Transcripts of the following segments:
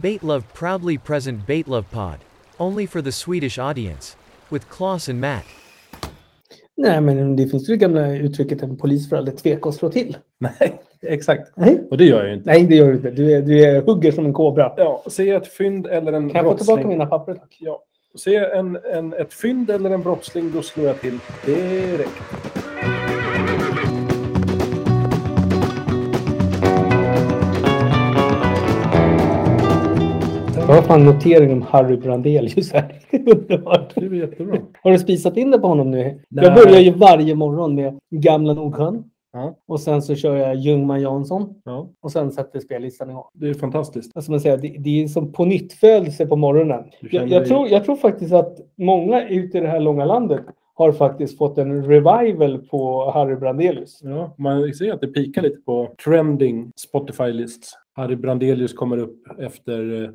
Baitlove proudly present Baitlove Pod. Only for the Swedish audience. With Klaus and Matt. Nej, men det finns ju det gamla uttrycket en polis får aldrig tveka att slå till. Nej, exakt. Nej, Och det gör jag ju inte. Nej det gör du inte. Du är, du är hugger som en kobra. Ja, se ett fynd eller en Kan jag få brottsling. tillbaka mina papper? tack? Ja. Se en, en, ett fynd eller en brottsling, då slår jag till direkt. Jag har fan notering om Harry Brandelius här. Underbart. Det är jättebra. Har du spisat in det på honom nu? Jag Nej. börjar ju varje morgon med Gamla Nordsjön. Ja. Och sen så kör jag Ljungman Jansson. Ja, Och sen sätter spellistan igång. det är fantastiskt. Alltså man säger, det, det är som på nytt födelse på morgonen. Du Jag, känner jag, dig- tror, jag tror faktiskt att många ute i det här långa landet har faktiskt fått en revival på Harry Brandelius. Ja, man ser att det pikar lite på trending Spotify-lists. Harry Brandelius kommer upp efter eh,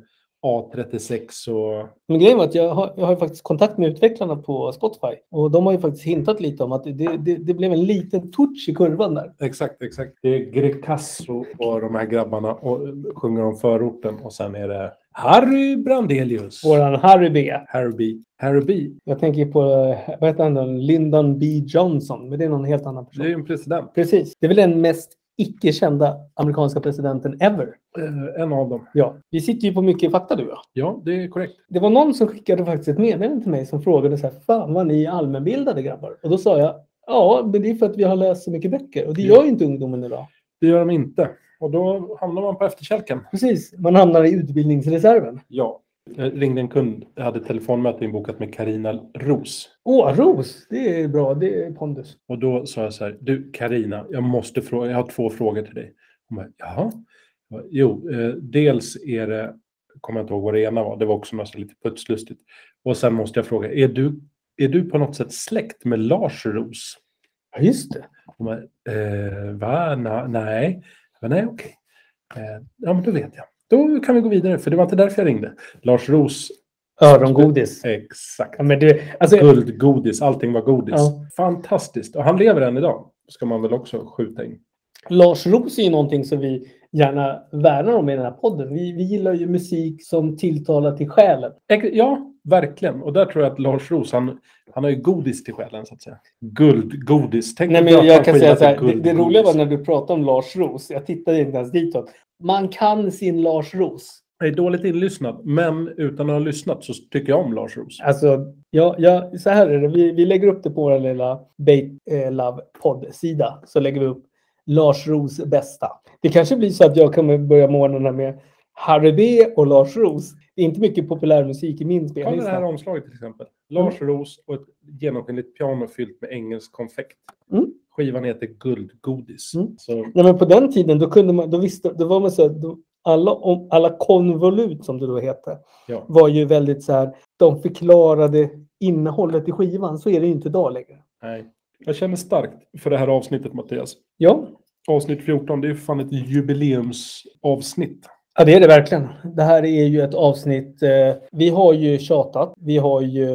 A36 och... Men grejen var att jag har, jag har ju faktiskt kontakt med utvecklarna på Spotify. Och de har ju faktiskt hintat lite om att det, det, det blev en liten touch i kurvan där. Exakt, exakt. Det är Grecasso och de här grabbarna och eh, sjunger om förorten och sen är det Harry Brandelius. Våran Harry B. Harry B. Harry B. Jag tänker på, eh, vad heter han då? Lyndon B. Johnson. Men det är någon helt annan person. Det är ju en president. Precis. Det är väl den mest icke-kända amerikanska presidenten ever. Eh, En av dem. Ja. Vi sitter ju på mycket fakta du och jag. Ja, det är korrekt. Det var någon som skickade faktiskt ett meddelande till mig som frågade så här, fan vad ni är allmänbildade grabbar. Och då sa jag, ja men det är för att vi har läst så mycket böcker och det gör ju inte ungdomen idag. Det gör de inte. Och då hamnar man på efterkälken. Precis, man hamnar i utbildningsreserven. Ja. Jag ringde en kund. Jag hade telefonmöte inbokat med Karina Ros. Åh, ros, det är bra, det är pondus. Och då sa jag så här. Du Karina, jag måste fråga. Jag har två frågor till dig. Hon bara, jaha? Jag bara, Jo, eh, dels är det, kommer jag inte ihåg vad det ena var. Det var också något så lite putslustigt. Och sen måste jag fråga, är du, är du på något sätt släkt med Lars Ros? Ja, just det. Hon bara, eh, va? Na, nej. Jag bara, nej, okej. Eh, ja, men då vet jag. Då kan vi gå vidare, för det var inte därför jag ringde. Lars Ros, Örongodis. exakt. Ja, men du, alltså, Guldgodis, allting var godis. Ja. Fantastiskt. Och han lever än idag, ska man väl också skjuta in. Lars Ros är ju någonting som vi gärna värnar om i den här podden. Vi, vi gillar ju musik som tilltalar till själen. Ex- Ja, verkligen. Och där tror jag att Lars Ros, han, han har ju godis till själen, så att säga. Guldgodis. Tänk Nej, att men döpa en jag kan skiva säga så här, till det, det guldgodis. roliga var när du pratade om Lars Ros. Jag tittade inte ens ditåt. Man kan sin Lars Ros. Jag är dåligt inlyssnad, men utan att ha lyssnat så tycker jag om Lars Ros. Alltså, ja, ja, så här är det. Vi, vi lägger upp det på vår lilla Bait eh, Love podd-sida. Så lägger vi upp Lars Ros bästa. Det kanske blir så att jag kommer börja månaderna med Harry B och Lars Ros. Det är inte mycket populärmusik i min Kolla det här spellista. omslaget till exempel. Lars Ros och ett genomskinligt piano fyllt med engelsk konfekt. Mm. Skivan heter Guldgodis. Mm. Så, Nej, men på den tiden då kunde man, då visste, då var man så här, då, alla, om, alla konvolut som det då hette ja. var ju väldigt så här, de förklarade innehållet i skivan. Så är det ju inte idag längre. Nej. Jag känner starkt för det här avsnittet, Mattias. Ja, Avsnitt 14, det är ju fan ett jubileumsavsnitt. Ja, det är det verkligen. Det här är ju ett avsnitt. Eh, vi har ju tjatat. Vi har ju,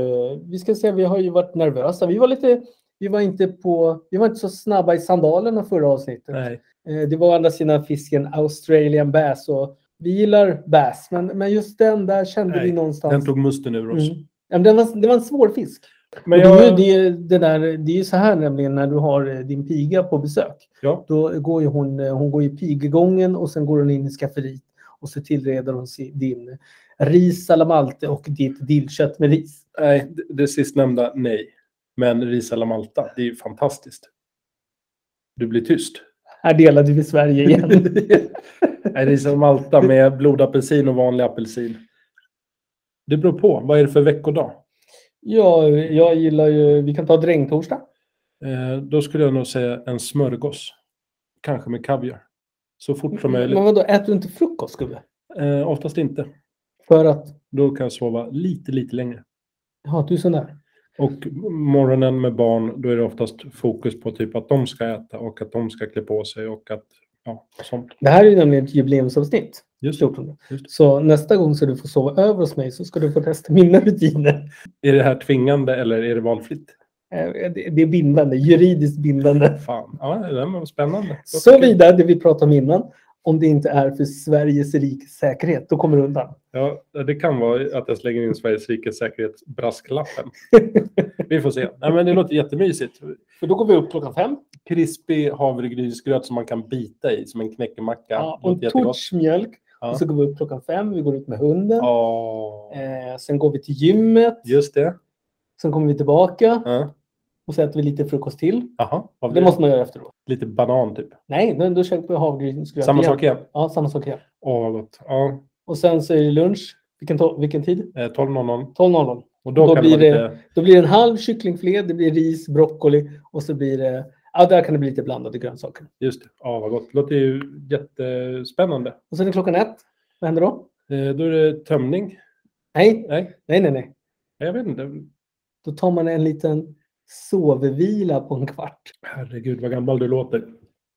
vi ska säga, vi har ju varit nervösa. Vi var lite, vi var inte på, vi var inte så snabba i sandalerna förra avsnittet. Nej. Eh, det var å andra sidan fisken Australian bass och vi gillar bass, men, men just den där kände Nej, vi någonstans. Den tog musten ur oss. Mm. Ja, men den var, det var en svår fisk. Men Och jag, det, är ju, det, det, där, det är ju så här nämligen när du har eh, din piga på besök. Ja. Då går ju hon, eh, hon går i pigegången och sen går hon in i skafferiet och så tillreder hon si- din ris alla malte och ditt dillkött med ris. nej, det- det sistnämnda, nej. Men ris alla Malta, det är ju fantastiskt. Du blir tyst. Här delade vi Sverige igen. Nej, ris alla Malta med blodapelsin och vanlig apelsin. Det beror på. Vad är det för veckodag? ja, jag gillar ju, vi kan ta drängtorsdag. Eh, då skulle jag nog säga en smörgås. Kanske med kaviar. Så fort som Men möjligt. vadå, äter du inte frukost gubbe? Eh, oftast inte. För att, Då kan jag sova lite, lite längre. ja du är sån där. Och morgonen med barn, då är det oftast fokus på typ att de ska äta och att de ska klä på sig och att, ja, sånt. Det här är ju nämligen ett jubileumsavsnitt. Just det. 14. Just det. Så nästa gång så du får sova över hos mig så ska du få testa mina rutiner. Är det här tvingande eller är det valfritt? Eh, Det det är bindande, juridiskt bindande. Fan, ja, det där var spännande. Såvida det vi pratade om innan, om det inte är för Sveriges rikes säkerhet. Då kommer du undan. Ja, det kan vara att jag slänger in Sveriges rikes säkerhet brasklappen. Vi får se. Nej, men det låter jättemysigt. För då går vi upp klockan fem. Krispig havregrynsgröt som man kan bita i som en knäckemacka. Ja, och Låter en jättegott. touch mjölk. Ja. Och så går vi upp klockan fem. Vi går ut med hunden. Ja, Eh, sen går vi till gymmet. just det. Sen kommer vi tillbaka. Ja. Och så äter vi lite frukost till. Aha, vad Det blir det? måste man göra efteråt. Lite banan typ. Nej, men då käkar vi havregrynsgröt Samma igen. sak igen. Ja, samma sak igen. Åh, vad gott. Ja, Och sen så är det lunch. Vilken, to- vilken tid? eh, 12.00. 12.00. Och då, Då kan blir det det- vara lite... Då blir det en halv kycklingfilé, det blir ris, broccoli och så blir det... Ja, där kan det bli lite blandade grönsaker. Just det. Ja, vad gott. Låter ju jättespännande. Och sen är klockan ett. Vad händer då? Eh, Då är det tömning. Nej, Nej, nej, nej, nej. jag vet inte. Då tar man en liten sovvila på en kvart. Herregud, vad gammal du låter.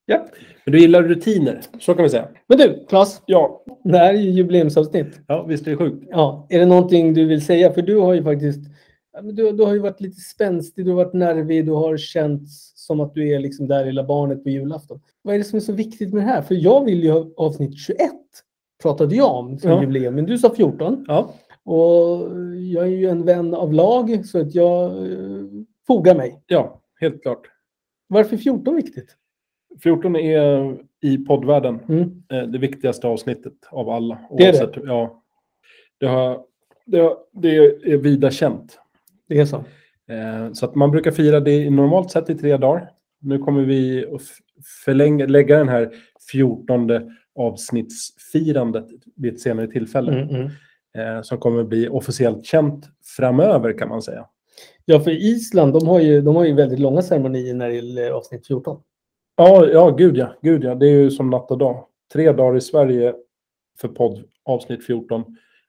Ja. Men du gillar rutiner, så kan vi säga. Men du, Claes. Ja, Det här är ju jubileumsavsnitt. ja visst är det sjukt. Ja, är det någonting du vill säga? För du har ju faktiskt... ja, men Du, du har ju varit lite spänstig, du har varit nervig, du har känt som att du är liksom där lilla barnet på julafton. Vad är det som är så viktigt med det här? För jag vill ju ha avsnitt 21 pratade jag om som Ja. jubileum, men du sa 14. Ja, Och jag är ju en vän av lag så att jag eh, fogar mig. ja helt klart. Varför är 14 viktigt? 14 är i poddvärlden Mm. eh, det viktigaste avsnittet av alla. Det är det. Oavsett- Ja, det, har, det, har, det är vida känt. Det är så. Eh, Så att man brukar fira det i normalt sett i tre dagar. Nu kommer vi att f- förlänga, lägga den här 14 avsnittsfirandet vid ett senare tillfälle. Mm, mm. eh, som kommer bli officiellt känt framöver kan man säga. Ja, för Island, de har, ju, de har ju väldigt långa ceremonier när det gäller avsnitt 14. Ja, ja, gud ja, gud ja. Det är ju som natt och dag. Tre dagar i Sverige för podd avsnitt 14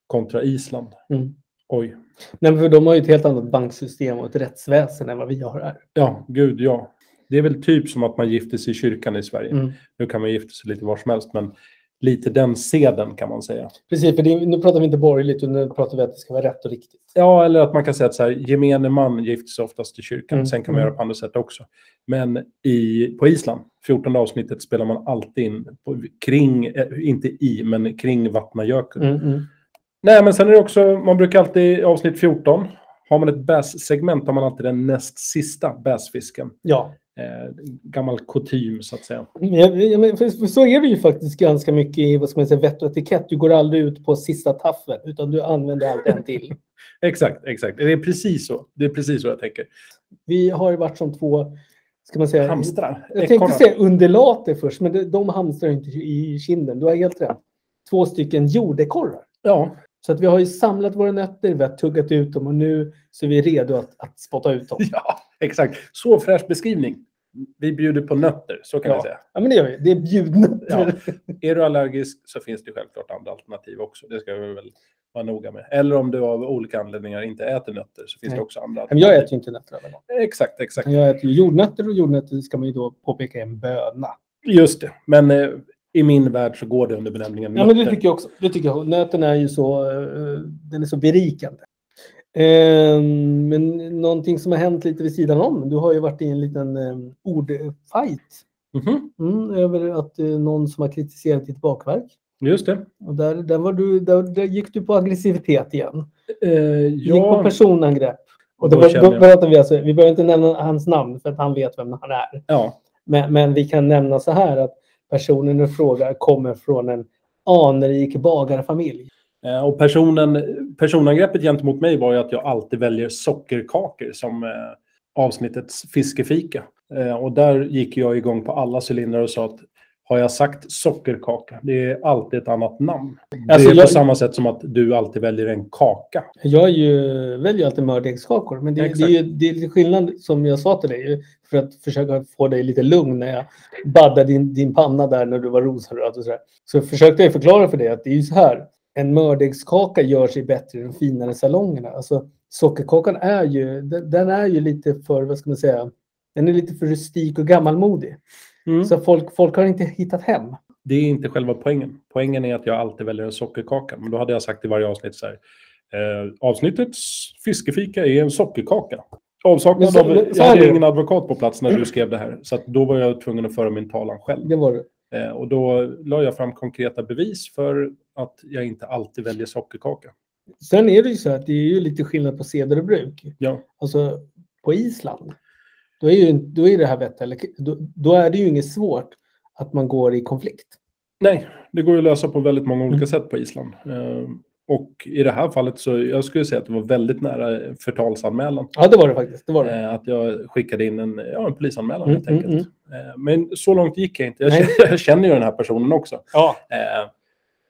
kontra Island. Mm. Oj. Nej, men för de har ju ett helt annat banksystem och ett rättsväsen än vad vi har här. Ja, gud ja. Det är väl typ som att man gifter sig i kyrkan i Sverige. Mm. Nu kan man gifta sig lite var som helst, men lite den seden kan man säga. Precis, för det, nu pratar vi inte borgerligt, utan nu pratar vi att det ska vara rätt och riktigt. Ja, eller att man kan säga att så här, gemene man gifter sig oftast i kyrkan. Mm, Sen kan man mm. göra på andra sätt också. Men i, på Island, 14 avsnittet, spelar man alltid in på, kring, eh, inte i, men kring Vatnajökull. Mm. Nej, men sen är det också, man brukar alltid i avsnitt 14, har man ett bass-segment har man alltid den näst sista bassfisken. Ja, Eh, gammal kutym, så att säga. men jag- jag- men för, för så är det ju faktiskt ganska mycket i vad ska man säga, vett och etikett. Du går aldrig ut på sista taffen, utan du använder alltid en till. Exakt, exakt. Det är precis så. Det är precis så jag tänker. Vi har ju varit som två, ska man säga, Hamstrar, Eh, jag tänkte ekorrar. säga undulater först, men de, de hamstrar ju inte i kinden. Du har helt rätt. Två stycken jordekorrar. Ja, Så att vi har ju samlat våra nötter, vi har tuggat ut dem och nu så är vi redo att, att spotta ut dem. ja, exakt. Så fräsch beskrivning. Vi bjuder på nötter, så kan Ja. jag säga. Ja, men det gör vi. Det är bjudnötter. Ja. Är du allergisk så finns det självklart andra alternativ också. Det ska vi väl vara noga med. Eller om du av olika anledningar inte äter nötter så finns Nej. det också andra Men alternativ. jag äter ju inte nötter alla dagar. Exakt, exakt. Jag äter ju jordnötter och jordnötter ska man ju då påpeka är en böna. Just det. Men eh, i min värld så går det under benämningen Ja, men nötter. det tycker jag också. Det tycker jag. Nöten är ju så, eh, den är så berikande. Eh, men någonting som har hänt lite vid sidan om. Du har ju varit i en liten eh, ordfight Mhm. mm, över att eh, någon som har kritiserat ditt bakverk. Just det. Och där, där, var du, där, där gick du på aggressivitet igen. Eh, Du gick på ja, personangrepp. Och då, Då var, känner då jag- pratar vi alltså, vi behöver inte nämna hans namn för att han vet vem han är. ja, Men, men vi kan nämna så här att personen i fråga kommer från en anrik bagarfamilj. Eh, och personen, personangreppet gentemot mig var ju att jag alltid väljer sockerkakor som eh, avsnittets fiskefika. Eh, och där gick jag igång på alla cylindrar och sa att har jag sagt sockerkaka, det är alltid ett annat namn. Alltså, det är jag- på samma sätt som att du alltid väljer en kaka. Jag är ju, väljer alltid mördegskakor, men det, det, är Exakt. ju, det är lite skillnad som jag sa till dig för att försöka få dig lite lugn när jag baddade din, din panna där när du var rosenröd och sådär. Så försökte jag förklara för dig att det är ju så här. En mördegskaka gör sig bättre i de finare salongerna. Alltså, sockerkakan är ju, den, den är ju lite för, vad ska man säga, den är lite för rustik och gammalmodig. Mm. Så folk, folk har inte hittat hem. Det är inte själva poängen. Poängen är att jag alltid väljer en sockerkaka. Men då hade jag sagt i varje avsnitt så här. Eh, avsnittets fiskefika är en sockerkaka. Men Avsaknad så- av... men så Jag är hade det. ingen advokat på plats när du skrev det här. Så att då var jag tvungen att föra min talan själv. Det var det. Eh, och då la jag fram konkreta bevis för att jag inte alltid väljer sockerkaka. Sen är det ju så att det är ju lite skillnad på seder och bruk. Ja. Alltså på Island, då är ju då är det här vett eller då, då är det ju inget svårt att man går i konflikt. Nej, det går ju att lösa på väldigt många Mm. olika sätt på Island. Eh, och i det här fallet så jag skulle säga att det var väldigt nära förtalsanmälan. Ja, det var det faktiskt. Det var det. Eh, att jag skickade in en, ja, en polisanmälan Mm, helt mm, enkelt. Eh, men så långt gick jag inte. Jag, Nej. känner- jag känner ju den här personen också. Ja. Eh,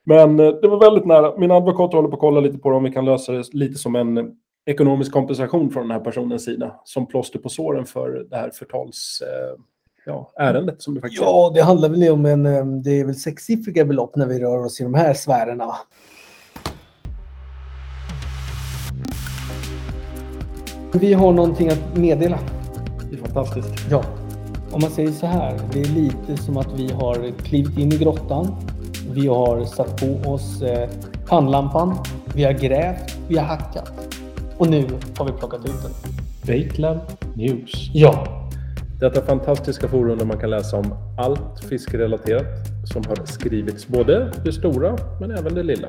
men eh, det var väldigt nära. Min advokat håller på att kolla lite på det, om vi kan lösa det lite som en eh, ekonomisk kompensation från den här personens sida. Som plåster på såren för det här förtals... Eh, ja, ärendet som det faktiskt är. Ja, det handlar väl om en, eh, det är väl sexsiffriga belopp när vi rör oss i de här sfärerna. va? Vi har någonting att meddela. Det är fantastiskt. Ja. Om man säger så här, det är lite som att vi har klivit in i grottan. Vi har satt på oss eh, pannlampan. Vi har grävt, vi har hackat. Och nu har vi plockat ut den. Batelab News. Ja, Detta fantastiska forum där man kan läsa om allt fiskerelaterat som har skrivits, både det stora men även det lilla.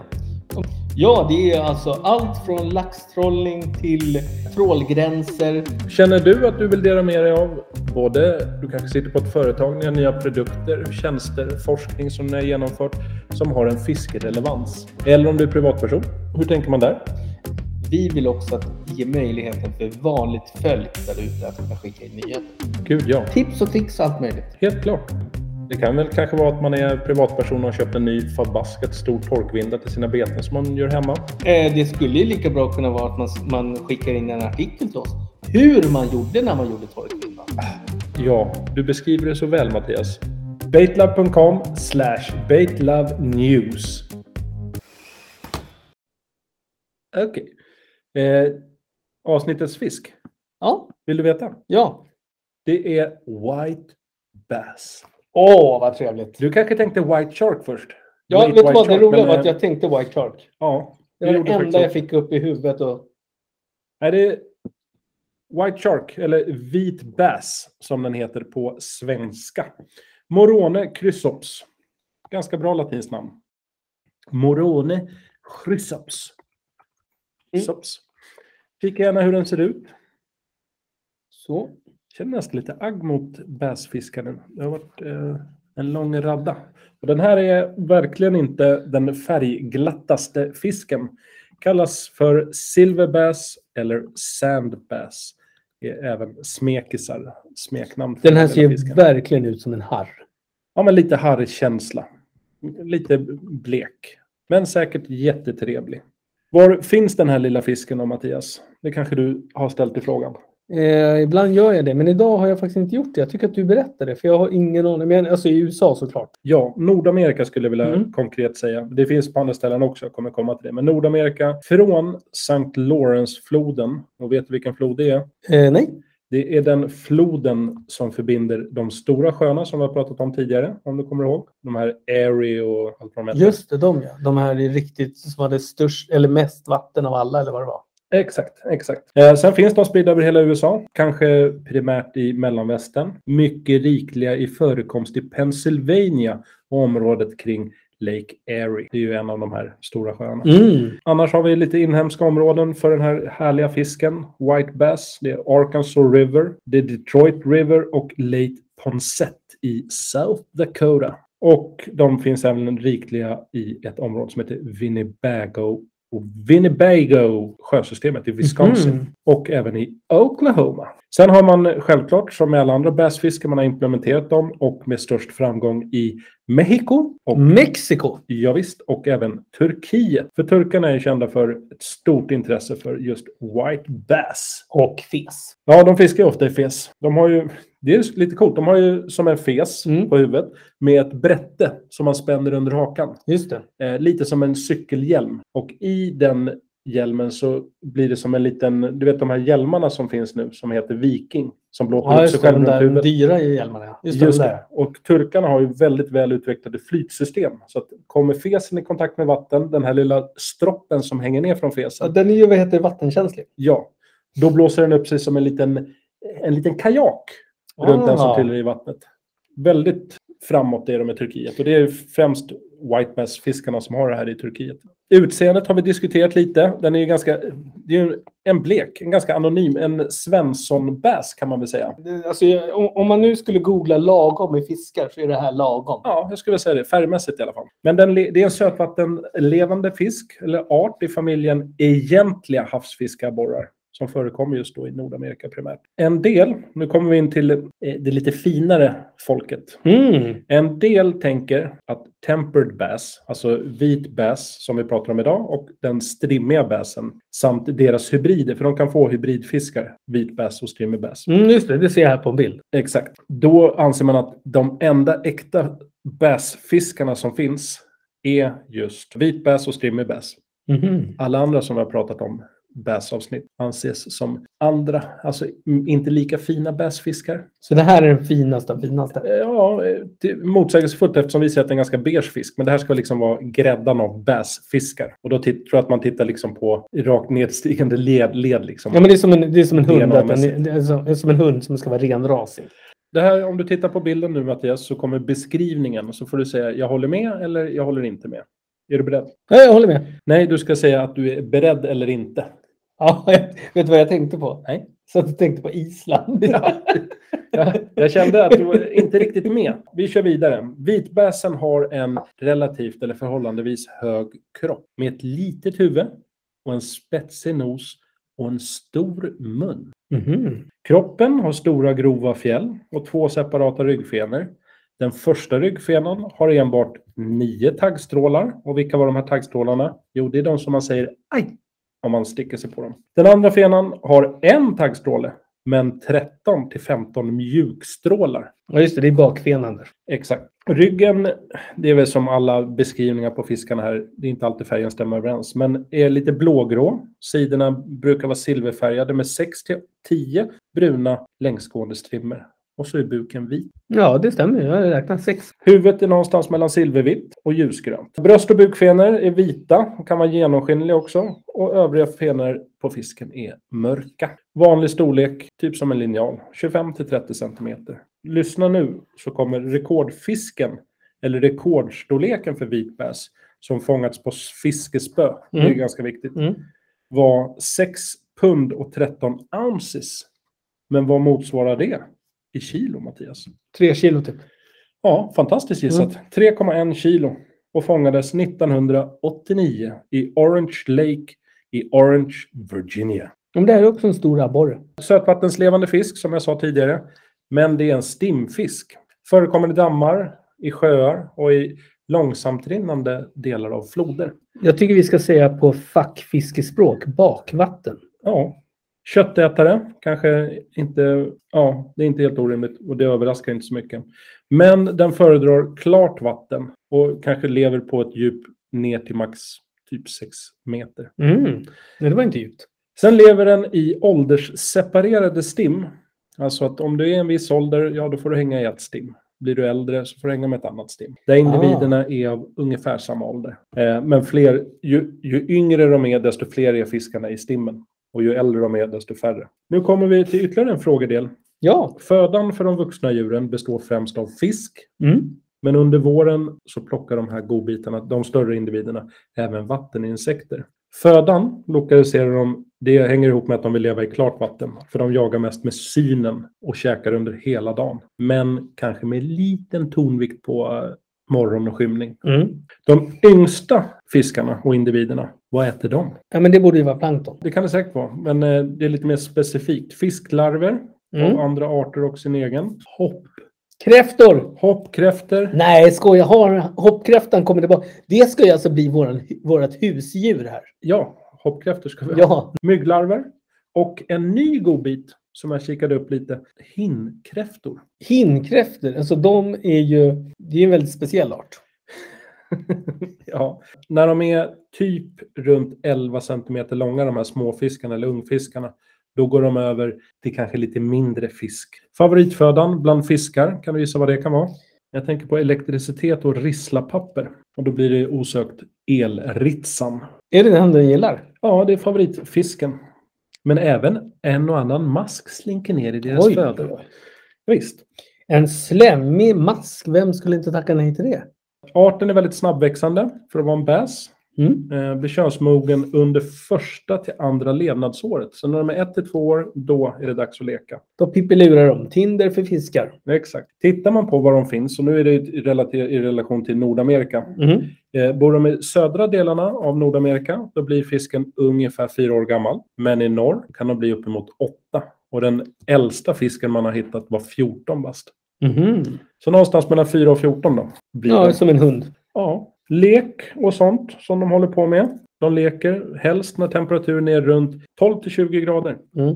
Ja, det är alltså allt från laxtrollning till trålgränser. Känner du att du vill dela med dig av både, du kanske sitter på ett företag, ni har nya produkter, tjänster, forskning som ni har genomfört som har en fiskerelevans? Eller om du är privatperson, hur tänker man där? Vi vill också att ge möjligheten för vanligt folk där ute att kunna skicka in nyheter. Gud ja, Tips och tricks och allt möjligt. helt klart. Det kan väl kanske vara att man är privatperson och har köpt en ny förbaskat stor torkvinda till sina beten som man gör hemma. Eh, Det skulle ju lika bra kunna vara att man, man skickar in en artikel till oss. Hur man gjorde när man gjorde torrkvinnan. Ja, du beskriver det så väl Mattias. Baitlab.com slash baitlovenews. Okej. Eh, avsnittets fisk. Ja, Vill du veta? ja. Det är White Bass. Åh, vad trevligt. Du kanske tänkte White Shark först? Ja, Late vet du vad? White Det Shark, roliga men, var att eh, jag tänkte White Clark. Ja. Det var gjorde det enda faktiskt jag fick upp i huvudet. Och... Är det White Shark, eller Vit Bass som den heter på svenska. Morone chrysops. Ganska bra latinskt namn. Morone chrysops. Mm. Sops. Kika gärna hur den ser ut. Så. Känner nästan lite agg mot bassfiskaren. Det har varit eh, en lång radda. Och den här är verkligen inte den färgglattaste fisken. Kallas för silverbass eller sandbass. Är även smekisar, smeknamn. för Den här ser hela ju fisken. verkligen ut som en harr. Ja, men lite harrkänsla. Lite blek. Men säkert jättetrevlig. Var finns den här lilla fisken då, Mattias? Det kanske du har ställt i frågan. Eh, ibland gör jag det, men idag har jag faktiskt inte gjort det. Jag tycker att du berättar det, för jag har ingen aning. Men alltså i USA såklart. Ja, Nordamerika skulle jag vilja Mm. konkret säga. Det finns på andra ställen också, jag kommer komma till det. Men Nordamerika, från St. Lawrence-floden, och vet du vilken flod det är? Eh, nej. Det är den floden som förbinder de stora sjöarna som vi har pratat om tidigare, om du kommer ihåg. De här Erie och allt vad de heter. Just det, de ja. De här är riktigt som hade störst eller mest vatten av alla eller vad det var. Exakt, exakt. Eh, sen finns de spridda över hela USA, kanske primärt i mellanvästern. Mycket rikliga i förekomst i Pennsylvania och området kring Lake Erie. Det är ju en av de här stora sjöarna. Mm. Annars har vi lite inhemska områden för den här härliga fisken. White Bass, det är Arkansas River, det är Detroit River och Lake Ponsett i South Dakota. Och de finns även rikliga i ett område som heter Winnebago och Winnebago, sjösystemet i Wisconsin Mhm. och även i Oklahoma. Sen har man självklart, som med alla andra bassfiskar, man har implementerat dem och med störst framgång i Mexiko och Mexiko. Ja, visst, och även Turkiet. För turkarna är ju kända för ett stort intresse för just white bass. Och fes. Ja, de fiskar ju ofta i fes. De har ju, det är ju lite coolt, de har ju som en fes Mm. på huvudet med ett brätte som man spänner under hakan. Just det. Eh, lite som en cykelhjälm. Och i den hjälmen så blir det som en liten, du vet de här hjälmarna som finns nu som heter viking. Som blåter Ja, upp sig just det. själv De runt där huvudet. dyra i hjälmarna. ja. Just, Just, det. de det. Där. Och turkarna har ju väldigt väl utvecklade flytsystem. Så att kommer fesen i kontakt med vatten, den här lilla stroppen som hänger ner från Ja, fesen, den är ju vad heter det, vattenkänslig. ja, då blåser den upp sig som en liten, en liten kajak runt den Ah. som trillar i vattnet. Väldigt framåt det de i Turkiet. Och det är främst white bass-fiskarna som har det här i Turkiet. Utseendet har vi diskuterat lite. Den är ju ganska, det är ju en blek, en ganska anonym, en Svensson-bass kan man väl säga. Det- Alltså, jag- om- om man nu skulle googla lagom i fiskar så är det här lagom. Ja, jag skulle vilja säga det. Färgmässigt i alla fall. Men den, le- det är en sötvattenlevande fisk, eller art i familjen egentliga havsfiskarborrar som förekommer just då i Nordamerika primärt. En del, nu kommer vi in till eh, det lite finare folket. Mm. En del tänker att tempered bass, alltså vit bass som vi pratar om idag och den strimmiga bassen samt deras hybrider, för de kan få hybridfiskar, vit bass och strimmig bass. Mm, just det, det ser jag här på en bild. Exakt. Då anser man att de enda äkta bassfiskarna som finns är just vitbäs och strimmig bass. Mhm. Alla andra som vi har pratat om, bassavsnitt, anses som andra, alltså mm, inte lika fina bassfiskar. Så det här är den finaste av finaste. Eh, Ja, eh, det är motsägelsefullt eftersom vi säger att det är en ganska beige fisk, men det här ska liksom vara gräddan av bassfiskar. Och då tit- tror jag att man tittar liksom på rakt nedstigande led. led liksom. Ja, men det, är som en, det är som en hund. Att den, Renramässigt. det, är som, det är som en hund som ska vara renrasig. Det här, om du tittar på bilden nu Mattias så kommer beskrivningen och så får du säga jag håller med eller jag håller inte med. Är du beredd? Ja, jag håller med. Nej, du ska säga att du är beredd eller inte. Ja, jag, vet du vad jag tänkte på? Nej. Så att jag tänkte på Island. Jag kände att du var inte riktigt med. Vi kör vidare. Vitbäsen har en relativt eller förhållandevis hög kropp med ett litet huvud och en spetsig nos och en stor mun. Mhm. Kroppen har stora grova fjäll och två separata ryggfenor. Den första ryggfenan har enbart nio taggstrålar. Och vilka var de här taggstrålarna? Jo, det är de som man säger aj om man sticker sig på dem. Den andra fenan har en taggstråle, men 13 till 15 mjukstrålar. Ja, just det. Det är bakfenan där. Exakt. Ryggen, det är väl som alla beskrivningar på fiskarna här, det är inte alltid färgen stämmer överens, men är lite blågrå. Sidorna brukar vara silverfärgade med 6 till 10 bruna längsgående strimmor. Och så är buken vit. Ja, det stämmer. Jag har räknat sex. Huvudet är någonstans mellan silvervitt och ljusgrönt. Bröst och bukfenor är vita och kan vara genomskinliga också. Och övriga fenor på fisken är mörka. Vanlig storlek, typ som en linjal, 25 till 30 centimeter. Lyssna nu så kommer rekordfisken, eller rekordstorleken för vitbäs, som fångats på fiskespö, det är Mm. ganska viktigt, Mm. var 6 pund och 13 ounces. Men vad motsvarar det i kilo, Mattias? Tre kilo typ. Ja, fantastiskt gissat. 3,1 kilo och fångades 1989 i Orange Lake i Orange, Virginia. Ja, Men det här är också en stor abborre. Sötvattenslevande fisk, som jag sa tidigare, men det är en stimfisk. Förekommer i dammar, i sjöar och i långsamt rinnande delar av floder. Jag tycker vi ska säga på fackfiskespråk, bakvatten. Ja, köttätare kanske inte... Ja, det är inte helt orimligt och det överraskar inte så mycket. Men den föredrar klart vatten och kanske lever på ett djup ner till max typ 6 meter. Mm. Nej, det var inte djupt. Sen lever den i åldersseparerade stim. Alltså att om du är en viss ålder, ja då får du hänga i ett stim. Blir du äldre så får du hänga med ett annat stim. Där individerna är av ungefär samma ålder. Eh, men fler, ju, ju yngre de är, desto fler är fiskarna i stimmen. Och ju äldre de är, desto färre. Nu kommer vi till ytterligare en frågedel. Ja. Födan för de vuxna djuren består främst av fisk. Mm. Men under våren så plockar de här godbitarna, de större individerna, även vatteninsekter. Födan lokaliserar de, det hänger ihop med att de vill leva i klart vatten, för de jagar mest med synen och käkar under hela dagen. Men kanske med liten tonvikt på eh, morgon och skymning. Mm. De yngsta fiskarna och individerna, vad äter de? Ja, men det borde ju vara plankton. Det kan det säkert vara, men eh, det är lite mer specifikt. Fisklarver av Mm. andra arter och sin egen. Hopp, Kräftor! hoppkräfter. Nej, skoja. Har, hoppkräftan kommer tillbaka. Det ska ju alltså bli våran, vårat husdjur här. Ja, hoppkräftor ska vi ha. Ja. mygglarver och en ny godbit som jag kikade upp lite, hinnkräftor. Hinnkräftor, alltså de är ju... Det är ju en väldigt speciell art. Ja. När de är typ runt 11 centimeter långa, de här småfiskarna eller ungfiskarna, då går de över till kanske lite mindre fisk. Favoritfödan bland fiskar, kan du gissa vad det kan vara? Jag tänker på elektricitet och risslapapper. Och då blir det osökt elritsan. Är det den den gillar? Ja, det är favoritfisken. Men även en och annan mask slinker ner i deras föda. Visst. En slemmig mask, vem skulle inte tacka nej till det? Arten är väldigt snabbväxande för att vara en bäs. Mm. Eh, blir könsmogen under första till andra levnadsåret. Så när de är ett till två år, då är det dags att leka. Då pippilurar de. Tinder för fiskar. Exakt. Tittar man på var de finns, och nu är det i, relativ, i relation till Nordamerika. Mm. Eh, bor de i södra delarna av Nordamerika, då blir fisken ungefär fyra år gammal. Men i norr kan de bli uppemot åtta. Och den äldsta fisken man har hittat var 14 bast. Mhm. Så någonstans mellan 4 och 14 då. Blir Ja, det. som en hund. Ja. Lek och sånt som de håller på med. De leker helst när temperaturen är runt 12 till 20 grader. Mm.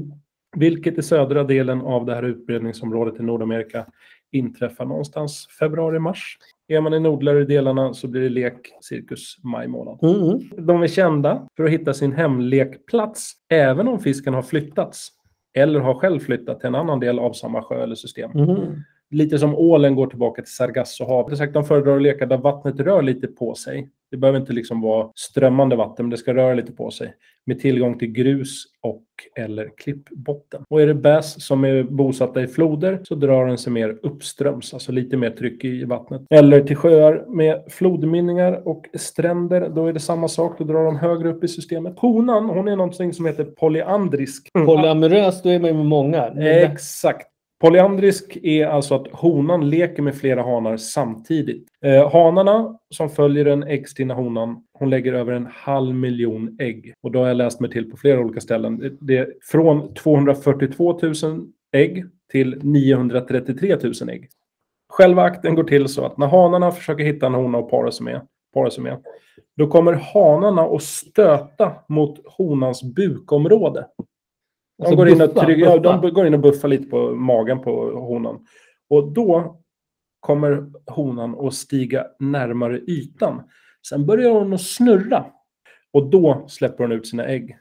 Vilket i södra delen av det här utbredningsområdet i Nordamerika inträffar någonstans februari-mars. Är man i nordligare delarna så blir det lek cirkus maj månad. Mm. De är kända för att hitta sin hemlekplats även om fisken har flyttats eller har själv flyttat till en annan del av samma sjö eller system. Mm. Lite som ålen går tillbaka till Sargassohavet. Det är sagt, De föredrar att leka där vattnet rör lite på sig. Det behöver inte liksom vara strömmande vatten, men det ska röra lite på sig. Med tillgång till grus och eller klippbotten. Och är det bäs som är bosatta i floder så drar den sig mer uppströms, alltså lite mer tryck i vattnet. Eller till sjöar med flodmynningar och stränder, då är det samma sak. Då drar de högre upp i systemet. Honan, hon är någonting som heter polyandrisk. Mm. Polyamorös, då är man ju med många. Exakt. Polyandrisk är alltså att honan leker med flera hanar samtidigt. Eh, hanarna som följer den äggstinna honan, hon lägger över en halv miljon ägg. Och då har jag läst mig till på flera olika ställen. Det- Det är från 242 000 ägg till 933 000 ägg. Själva akten går till så att när hanarna försöker hitta en hona och para sig med, para sig med då kommer hanarna att stöta mot honans bukområde. De, Alltså går, in och buffa, trycker, ja, de buffa. bu- går in och buffar lite på magen på honan. Och då kommer honan att stiga närmare ytan. Sen börjar hon att snurra. Och då släpper hon ut sina ägg.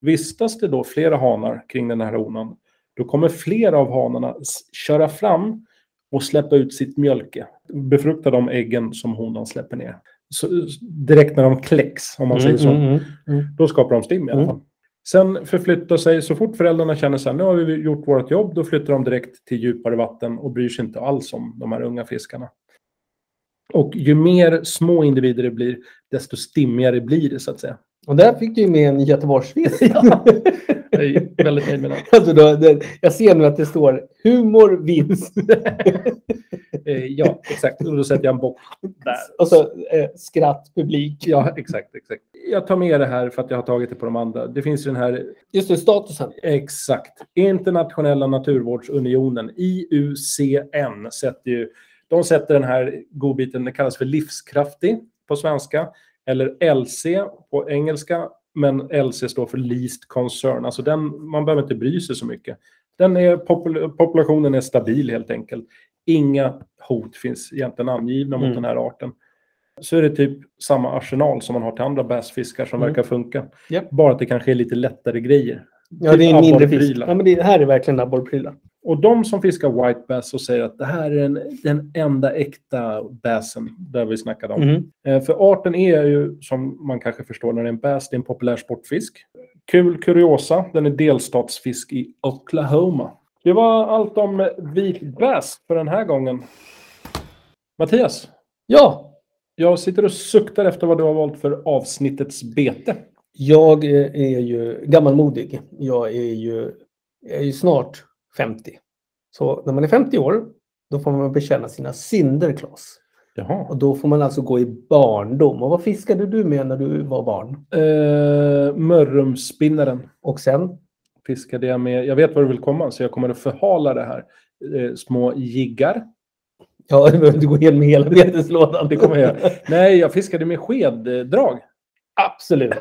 Vistas det då flera hanar kring den här honan, då kommer flera av hanarna s- köra fram och släppa ut sitt mjölke. Befrukta de äggen som honan släpper ner. Så, s- direkt när de kläcks, om man säger så. Mm, mm, mm. Då skapar de stim i alla Mm. fall. Sen förflyttar sig, så fort föräldrarna känner så här, nu har vi gjort vårt jobb, då flyttar de direkt till djupare vatten och bryr sig inte alls om de här unga fiskarna. Och ju mer små individer det blir, desto stimmigare blir det så att säga. Och där fick du med en göteborgsfisk. Jag är väldigt nöjd med den. Alltså då, det, jag ser nu att det står humor, vits. Eh, Ja, exakt. Och då sätter jag en bock där. Och så eh, skratt, publik. Ja, exakt, exakt. Jag tar med det här för att jag har tagit det på de andra. Det finns ju den här Just det, statusen. Exakt. Internationella naturvårdsunionen, IUCN, sätter ju, de sätter den här godbiten, den kallas för livskraftig på svenska, eller LC på engelska, men LC står för least concern. Alltså den, man behöver inte bry sig så mycket. Den är, popul- populationen är stabil helt enkelt. Inga hot finns egentligen angivna mot Mm. den här arten. Så är det typ samma arsenal som man har till andra bäsfiskar som Mm. verkar funka. Japp. Bara att det kanske är lite lättare grejer. Ja, det är en mindre fisk. abborrprylar. Ja, men det här är verkligen abborrprylar. Och de som fiskar white bass och säger att det här är den, den enda äkta bassen, där vi snackade om. Mm. Eh, För arten är ju, som man kanske förstår när det är en bass, det är en populär sportfisk. Kul kuriosa, den är delstatsfisk i Oklahoma. Det var allt om eh, vit bass för den här gången. Mattias, Ja, jag sitter och suktar efter vad du har valt för avsnittets bete. jag eh, är ju gammalmodig. Jag är ju, jag är ju snart 50. Så när man är 50 år, då får man bekänna sina synder, Claes. Jaha. Och då får man alltså gå i barndom. Och vad fiskade du med när du var barn? Eh, Mörrumspinnaren. Och sen? fiskade jag med, jag vet var du vill komma, så jag kommer att förhala det här. Eh, små jiggar. Ja, du behöver inte gå igenom hela beteslådan. Det kommer jag göra. Nej, jag fiskade med skeddrag. Absolut.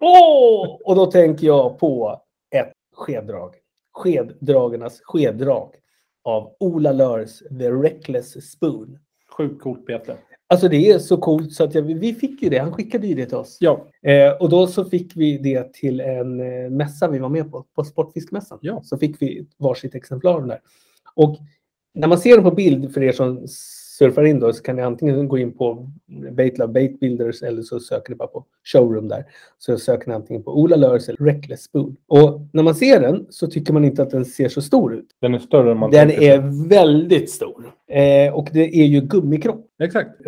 Åh! Och då tänker jag på ett skeddrag. Skeddragarnas skeddrag av Ola Lörs The Reckless Spoon. Sjukt coolt bete. Alltså det är så coolt så att jag, vi fick ju det. Han skickade ju det till oss. Ja, Eh, och då så fick vi det till en eh, mässa vi var med på, på Sportfiskmässan. Ja. Så fick vi varsitt exemplar av den där. Och när man ser dem på bild, för er som surfar in då så kan ni antingen gå in på Baitlove Bait Builders eller så söker ni bara på showroom där. Så söker ni antingen på Ola Lörs eller Reckless Spoon. Och när man ser den så tycker man inte att den ser så stor ut. Den är större än man Den tänker sig. är väldigt stor. Eh, och det är ju gummikropp Exakt.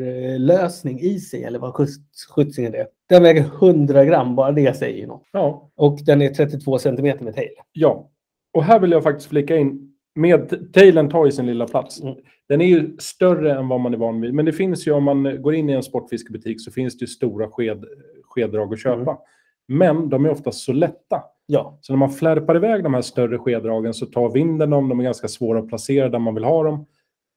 wire-lösning i sig, eller vad skjuts- skjutsingen det är. Den väger 100 gram, bara det säger ju något. Ja, Och den är 32 centimeter med tail. Ja, och här vill jag faktiskt flika in. Med tailen tar ju sin lilla plats. Mm. Den är ju större än vad man är van vid. Men det finns ju, om man går in i en sportfiskebutik, så finns det ju stora sked, skeddrag att Mm. köpa. Men de är oftast så lätta. Ja, Så när man flärpar iväg de här större skeddragen så tar vinden dem. De är ganska svåra att placera där man vill ha dem.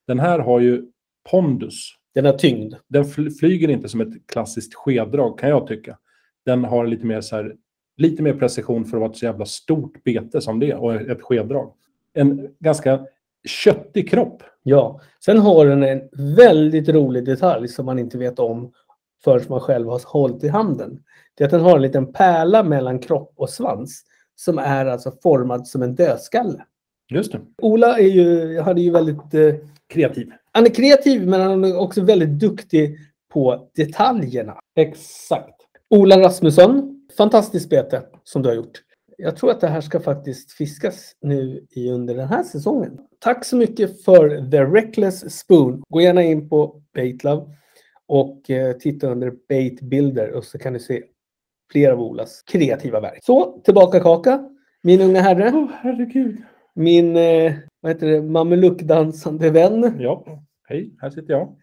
Den här har ju pondus. den har tyngd. Den fl- flyger inte som ett klassiskt skeddrag kan jag tycka. Den har lite mer, så här, lite mer precision för att vara ett så jävla stort bete som det är och ett skeddrag. En ganska köttig kropp. Ja, sen har den en väldigt rolig detalj som man inte vet om förrän man själv har hållit i handen. Det är att den har en liten pärla mellan kropp och svans som är alltså formad som en dödskalle. Just det. Ola är ju, hade ju väldigt eh, Kreativ. Han är kreativ men han är också väldigt duktig på detaljerna. Exakt. Ola Rasmusson, fantastiskt bete som du har gjort. Jag tror att det här ska faktiskt fiskas nu i under den här säsongen. Tack så mycket för The Reckless Spoon. Gå gärna in på Baitlove och eh, titta under Bait Builder och så kan du se fler av Olas kreativa verk. Så, tillbaka kaka. Min unga herre, Åh, herregud. min eh, vad heter det, mameluckdansande vän. Ja, hej, här sitter jag.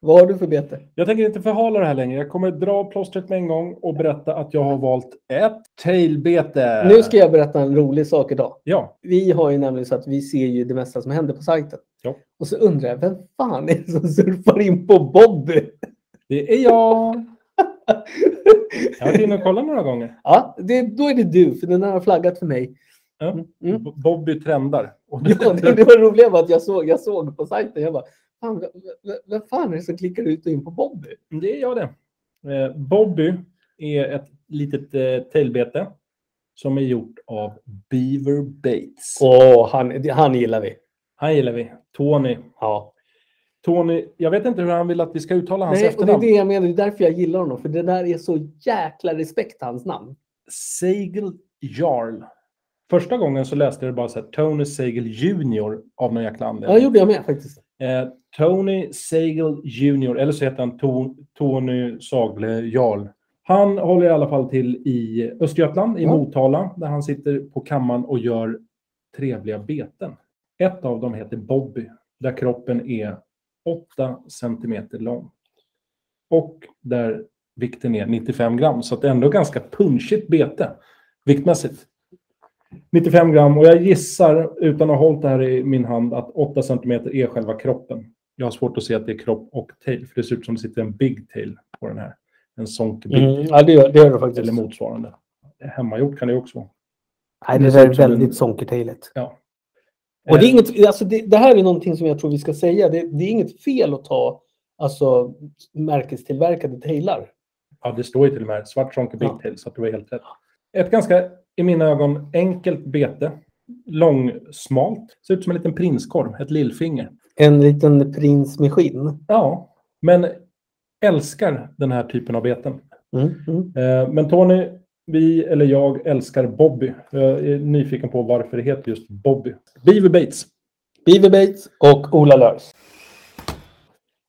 Vad har du för bete? Jag tänker inte förhala det här längre. Jag kommer dra plåstret med en gång och berätta att jag har valt ett tailbete. Nu ska jag berätta en rolig sak idag. Ja, Vi har ju nämligen så att vi ser ju det mesta som händer på sajten. Ja. Och så undrar jag, vem fan är det som surfar in på Bobby? det är jag. Jag har varit inne och kollat några gånger. ja, det, då är det du, för den här har flaggat för mig. Ja. Mm, Mm. B- Bobby trendar. Och Ja, det, det var roliga var att jag såg, jag såg på sajten, jag bara, fan, vem, vem- vem fan är det som klickar ut och in på Bobby? Det är jag det. Eh, Bobby är ett litet eh, tailbete som är gjort av Beaver Baits. Åh, han, han gillar vi. Han gillar vi. Tony. Ja. Tony, jag vet inte hur han vill att vi ska uttala hans Nej, och det är efternamn. det jag menar, det är därför jag gillar honom, för det där är så jäkla respekt hans namn. Seigel Jarl. Första gången så läste jag det bara så här, Tony Seigel Junior av någon jäkla Ja, det anledning. gjorde jag med faktiskt. eh, Tony Seigel Junior, eller så heter han To- Tony Sagle Jarl. Han håller i alla fall till i Östergötland, i Ja. Motala, där han sitter på kammaren och gör trevliga beten. Ett av dem heter Bobby, där kroppen är 8 centimeter lång. Och där vikten är 95 gram, så att det är ändå ganska punchigt bete viktmässigt. 95 gram och jag gissar, utan att ha hållit det här i min hand, att 8 centimeter är själva kroppen. Jag har svårt att se att det är kropp och tail, för det ser ut som det sitter en big tail på den här. En sonk big Mm, ja, det gör det gör det faktiskt. eller motsvarande. Hemmagjort kan det också vara. Nej, det Det där ser är ut som en- väldigt sonkertailigt. Ja. Och det, är Eh, inget, alltså det, det här är någonting som jag tror vi ska säga. Det, det är inget fel att ta alltså, märkestillverkade tailar. Ja, det står ju till och med svart sonke big Ja. tail, så att det var helt rätt. Ett ganska, i mina ögon, enkelt bete. Långsmalt. Ser ut som en liten prinskorv, ett lillfinger. En liten prins med skinn. Ja, men älskar den här typen av beten. Mm. Mm. Eh, Men Tony, vi eller jag älskar Bobby. Jag är nyfiken på varför det heter just Bobby. Beaver Bates. Beaver Bates och Ola Lörs.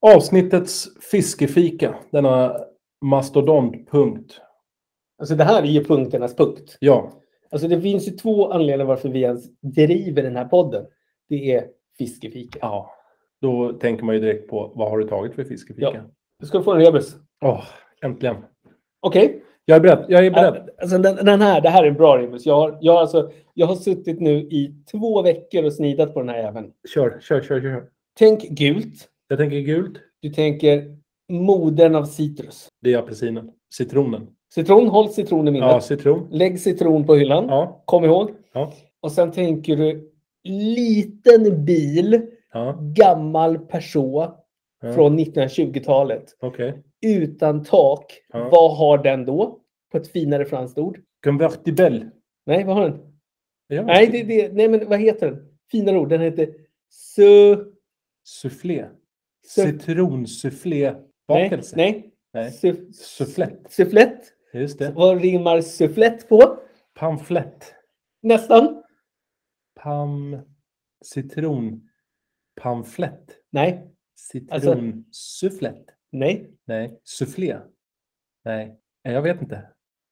Avsnittets fiskefika. Denna mastodontpunkt. Alltså det här är ju punkternas punkt. Ja, Alltså det finns ju två anledningar varför vi ens driver den här podden. Det är fiskefika. ja. Då tänker man ju direkt på vad har du tagit för fiskefika? Du ska få en rebus. Åh, äntligen. Okej. Jag är beredd. Jag är beredd. Alltså den, den här, det här är en bra rebus. Jag har, jag, har alltså, jag har suttit nu i två veckor och snidat på den här även. Kör, kör, kör, kör. Tänk gult. Jag tänker gult. Du tänker modern av citrus. Det är apelsinen. Citronen. Citron, håll citron i minnet. Ja, citron. Lägg citron på hyllan. Ja, Kom ihåg. Ja. Och sen tänker du liten bil, ja. gammal Peugeot ja. från 1920-talet. Okej. Utan tak. Ja. Vad har den då? På ett finare franskt ord. Convertibel. Nej, vad har den? Ja. Nej, det, det, nej men vad heter den? Finare ord. Den heter su... Soufflé. Nej, Citronsufflé-bakelse? nej. Nej. Suff- Sufflett. Sufflett. Just det. Vad rimmar sufflett på? Pamflett. Nästan. Pam... Citron... Pamflett. Nej, Alltså- Citronsufflett. nej. Nej. Soufflé? Nej. Nej, Jag vet inte.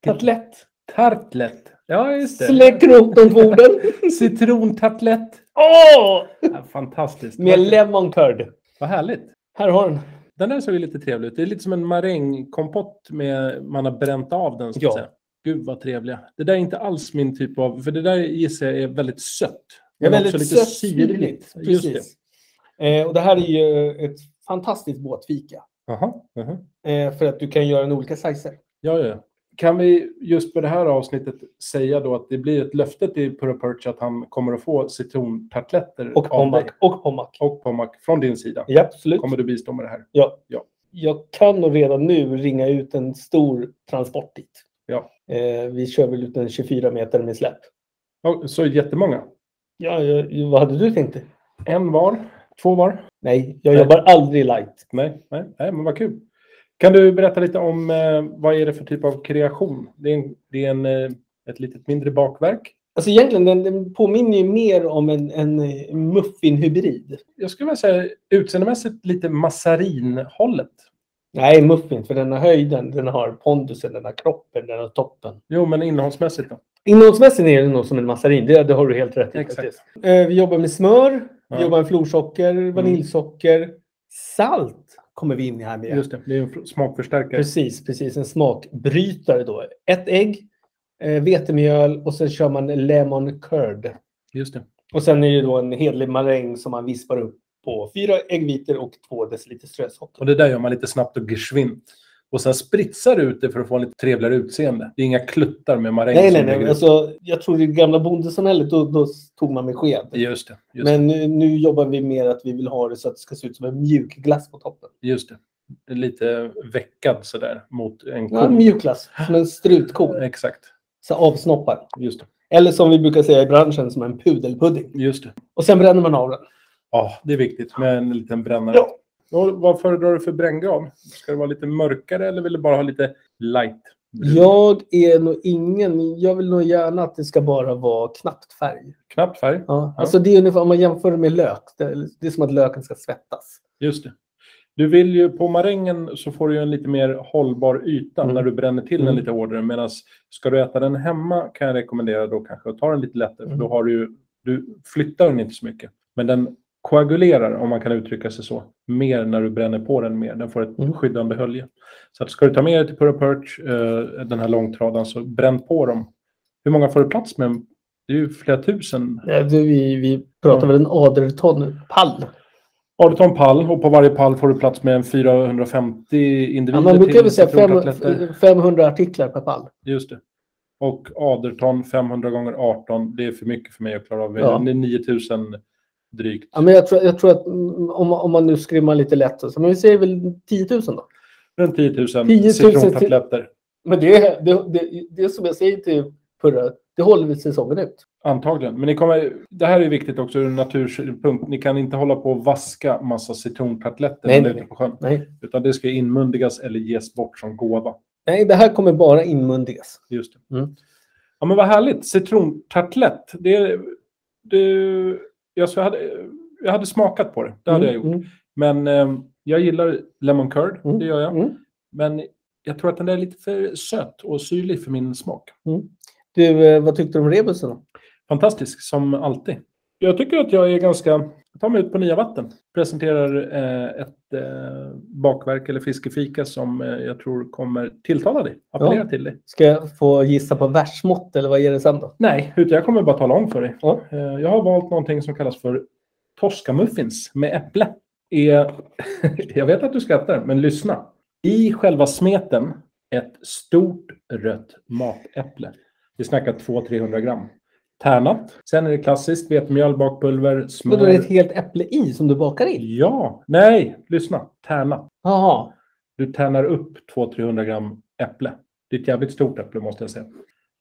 Tartlett. Tartlet. Ja, just det. Släck ihop de två orden. Citrontartlett. Åh! Ja, fantastiskt. Med Vad- lemon curd. Vad härligt. Här har den. Den där såg ju lite trevlig ut. Det är lite som en marängkompott med man har bränt av den. Så att Ja. säga. Gud vad trevliga. Det där är inte alls min typ av, för det där gissar jag är väldigt sött. Ja, Men också väldigt sött, syrligt. Just det. Precis. Eh, och det här är ju ett fantastiskt båtfika. Jaha. jaha. Eh, för att du kan göra en olika sizer. Ja, ja, ja. Kan vi just på det här avsnittet säga då att det blir ett löfte till Purra Perch att han kommer att få citrontartletter Och av dig pommac. Och pommac. och pommac från din sida? Ja, absolut. Kommer du bistå med det här? Ja. Ja. Jag kan nog redan nu ringa ut en stor transport dit. Ja. Eh, vi kör väl ut en 24 meter med släp. Ja, Så jättemånga. Ja, ja, vad hade du tänkt dig? En var? Två var? Nej, jag Nej. jobbar aldrig light. Nej, nej, nej, men vad kul. Kan du berätta lite om eh, vad är det för typ av kreation? Det är, en, det är en, eh, ett litet mindre bakverk. Alltså egentligen, den, den påminner ju mer om en, en eh, muffinhybrid. Jag skulle vilja säga utseendemässigt lite massarinhållet. Nej, muffin, för den har höjden, den har pondusen, den har kroppen, den har toppen. Jo, men innehållsmässigt då. Innehållsmässigt är den nog som en massarin, det, det har du helt rätt i. Exakt. faktiskt. Eh, vi jobbar med smör, Ja. Mm. vi jobbar med florsocker, vaniljsocker. Salt kommer vi in i här med. Just det, det är en fr- smakförstärkare. Precis, precis. En smakbrytare då. Ett ägg, eh, vetemjöl och sen kör man lemon curd. Just det. Och sen är det då en hedlig maräng som man vispar upp på fyra äggvitor och två deciliter strösocker. Och det där gör man lite snabbt och geschwint. Och sen spritsar du ut det för att få en lite trevligare utseende. Det är inga kluttar med maräng. Nej, som nej, nej. ligger- Alltså, jag tror i det gamla bondesamhället, då, då tog man med sked. Just det. Just Men nu, nu jobbar vi mer att vi vill ha det så att det ska se ut som en mjuk glass på toppen. Just det. Det är Lite veckad sådär mot en ko. Ja, en mjuk glass, som en strutkorn. Exakt. Så avsnoppar. Just det. Eller som vi brukar säga i branschen, som en pudelpudding. Just det. Och sen bränner man av den. Ja, det är viktigt med en liten brännare. Ja. Och vad föredrar du för bränngrav? Ska det vara lite mörkare eller vill du bara ha lite light? Jag är nog ingen, jag vill nog gärna att det ska bara vara knappt färg. Knappt färg. Ja, alltså det är ungefär, om man jämför det med lök, det, det är som att löken ska svettas. Just det. Du vill ju, på marängen så får du ju en lite mer hållbar yta Mm. när du bränner till den Mm. lite hårdare. Medan ska du äta den hemma kan jag rekommendera då kanske att ta den lite lättare. Mm. För då har du, ju- du flyttar den inte så mycket. Men den koagulerar, om man kan uttrycka sig så, mer när du bränner på den mer. Den får ett Mm. skyddande hölje. Så att ska du ta med dig till Purra Perch, eh, den här långtradan, så bränn på dem. Hur många får du plats med? Det är ju flera tusen. Ja, Eh, du, vi, vi pratar väl en aderton pall. 18 pall och på varje pall får du plats med en 450 Ja, individer. man brukar till väl säga citrontartletter. fem, 500 artiklar per pall. Just det. Och aderton, 500 gånger 18, det är för mycket för mig att klara av. Ja. Det är 9000 drygt. Ja, men jag, tror, jag tror att mm, om, om man nu skrimmar lite lätt, så, men vi säger väl 10 000 då? Runt 10 000 10 000 citrontartletter. Men det, det, det, det är som jag säger till Purra, det håller vi säsongen ut. Antagligen. Men ni kommer, det här är viktigt också ur natursynpunkt. Ni kan inte hålla på och vaska massa citrontartletter Nej, när ni är nej, ute på sjön. Nej, Utan det ska inmundigas eller ges bort som gåva. Nej det här kommer bara inmundigas. Just det. Mm. Ja, men vad härligt. Citrontartlett. Det, det, jag, så hade, jag hade smakat på det. Det hade jag gjort. Mm, Men eh, jag gillar lemon curd. Mm. Det gör jag. mm, mm. Men jag tror att den där är lite för söt och syrlig för min smak. Du, eh, vad tyckte du om rebusen? då? Fantastisk, som alltid. Jag tycker att jag är ganska... Jag tar mig ut på nya vatten. Presenterar eh, ett eh, bakverk eller fiskefika som eh, jag tror kommer tilltala dig. Appellera till dig. Ska jag få gissa på versmått eller vad är det sen då? Nej, utan jag kommer bara tala om för dig. Ja. Eh, Jag har valt någonting som kallas för Toscamuffins med äpple. Är- Jag vet att du skrattar, men lyssna. I själva smeten ett stort rött matäpple. Vi snackar 200-300 gram. Tärnat. Sen är det klassiskt vetemjöl, bakpulver, Men då är det ett smör. helt äpple i som du bakar in? Ja, nej, lyssna. Tärnat. Jaha. Du tärnar upp 200-300 gram äpple. Det är ett jävligt stort äpple måste jag säga.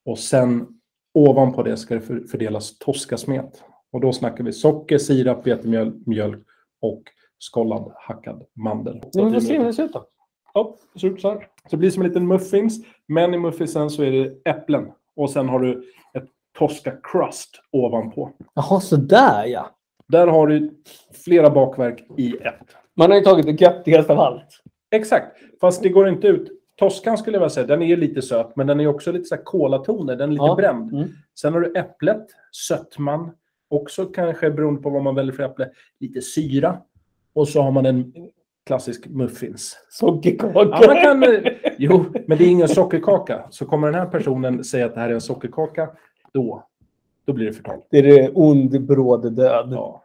Och sen ovanpå det ska det för- fördelas toskasmet. Och då snackar vi socker, sirap, vetemjöl, mjölk och skållad hackad mandel. Ja, men vi får se hur den ser ut då. Ja, det ser ut så här. Så det blir som en liten muffins, men i muffinsen så är det äpplen. Och sen har du ett Tosca crust ovanpå. Jaha, sådär ja. Där har du flera bakverk i ett. Man har ju tagit det göttigaste av allt. Exakt, fast det går inte ut. Toskan skulle jag vilja säga, den är ju lite söt, men den är också lite så här kolatoner. Den är lite Ja. bränd. Mm. Sen har du äpplet, sötman. Också kanske beroende på vad man väljer för äpple, lite syra. Och så har man en klassisk muffins. Ja, man Sockerkaka. kan, eh, jo, men det är ingen sockerkaka. Så kommer den här personen säga att det här är en sockerkaka, då, då blir det förtal. Det är det ond, bråd död. Ja.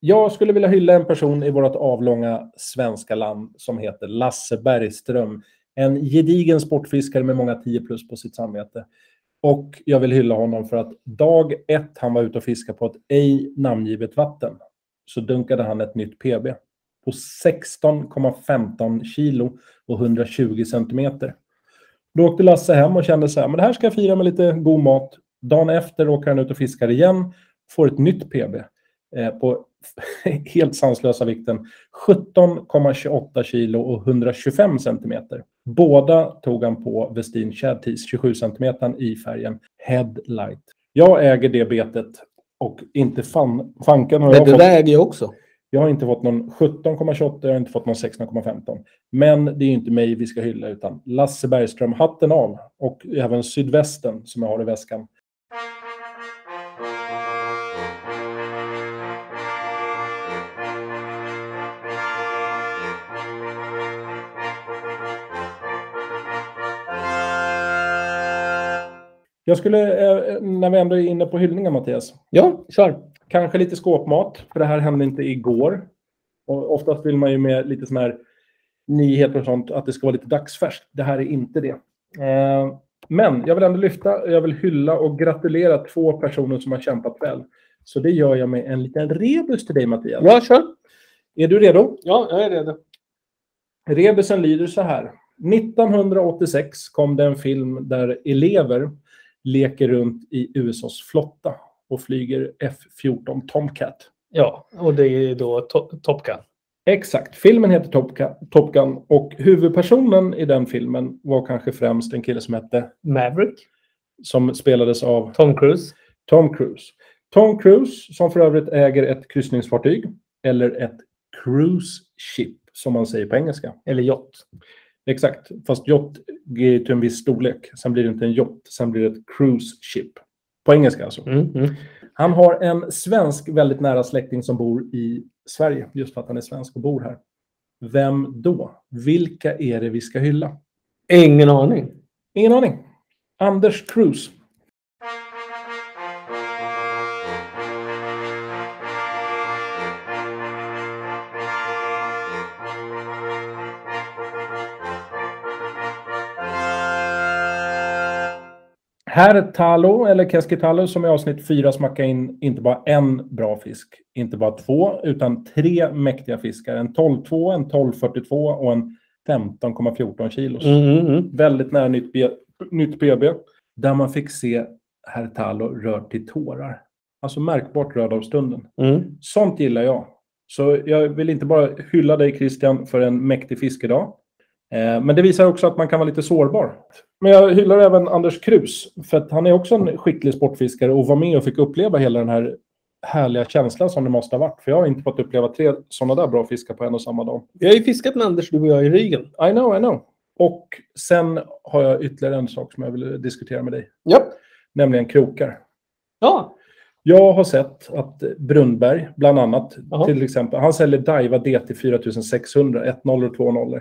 Jag skulle vilja hylla en person i vårt avlånga svenska land som heter Lasse Bergström. En gedigen sportfiskare med många 10 plus på sitt samvete. Och jag vill hylla honom för att dag ett han var ute och fiskade på ett ej namngivet vatten så dunkade han ett nytt PB på 16,15 kilo och 120 centimeter. Då åkte Lasse hem och kände så här, men det här ska jag fira med lite god mat. Dagen efter åker han ut och fiskar igen, får ett nytt PB eh, på helt sanslösa vikten 17,28 kilo och 125 centimeter. Båda tog han på Westin Shadtees 27 centimeter i färgen Headlight. Jag äger det betet och inte fan, fanken har Men jag det fått. där äger jag också. Jag har inte fått någon 17,28, jag har inte fått någon 16,15. Men det är ju inte mig vi ska hylla, utan Lasse Bergström, hatten av. Och även sydvästen som jag har i väskan. Jag skulle, eh, när vi ändå är inne på hyllningar, Mattias. Ja, kör. Kanske lite skåpmat, för det här hände inte igår. Och oftast vill man ju med lite sån här nyheter och sånt att det ska vara lite dagsfärskt. Det här är inte det. Eh, men jag vill ändå lyfta, jag vill hylla och gratulera två personer som har kämpat väl. Så det gör jag med en liten rebus till dig Mattias. Ja, kör. Är du redo? Ja, jag är redo. Rebusen lyder så här. 1986 kom det en film där elever leker runt i USAs flotta och flyger F-14 Tomcat. Ja, och det är då to- Top Gun. Exakt. Filmen heter Top Gun, Top Gun och huvudpersonen i den filmen var kanske främst en kille som hette Maverick. som spelades av Tom Cruise. Tom Cruise. Tom Cruise som för övrigt äger ett kryssningsfartyg eller ett cruise ship som man säger på engelska. Eller Yacht. Exakt, fast yacht är ju till en viss storlek. Sen blir det inte en yacht, sen blir det ett cruise ship. På engelska alltså. Mm, mm. Han har en svensk väldigt nära släkting som bor i Sverige, just för att han är svensk och bor här. Vem då? Vilka är det vi ska hylla? Ingen aning. Ingen aning. Anders Cruz. Herr Talo, eller Keskitalo, som i avsnitt fyra smackade in inte bara en bra fisk, inte bara två, utan tre mäktiga fiskar. En 12-2, en 12-42 och en 15,14 kilos Mm, mm, mm. väldigt nära nytt, B, nytt PB, där man fick se herr Talo rörd till tårar. Alltså märkbart röd av stunden. Mm. Sånt gillar jag. Så jag vill inte bara hylla dig Christian för en mäktig fiskedag. Eh, men det visar också att man kan vara lite sårbar. Men jag hyllar även Anders Krus för att han är också en skicklig sportfiskare och var med och fick uppleva hela den här härliga känslan som det måste ha varit. För jag har inte fått uppleva tre sådana där bra fiskar på en och samma dag. Vi har ju fiskat med Anders, du och jag, i Rügen. I know, I know. Och sen har jag ytterligare en sak som jag vill diskutera med dig, Japp. nämligen krokar. Ja. Jag har sett att Brunnberg, bland annat, Jaha. till exempel, han säljer Daiwa DT 4600, 1-0 och 2-0.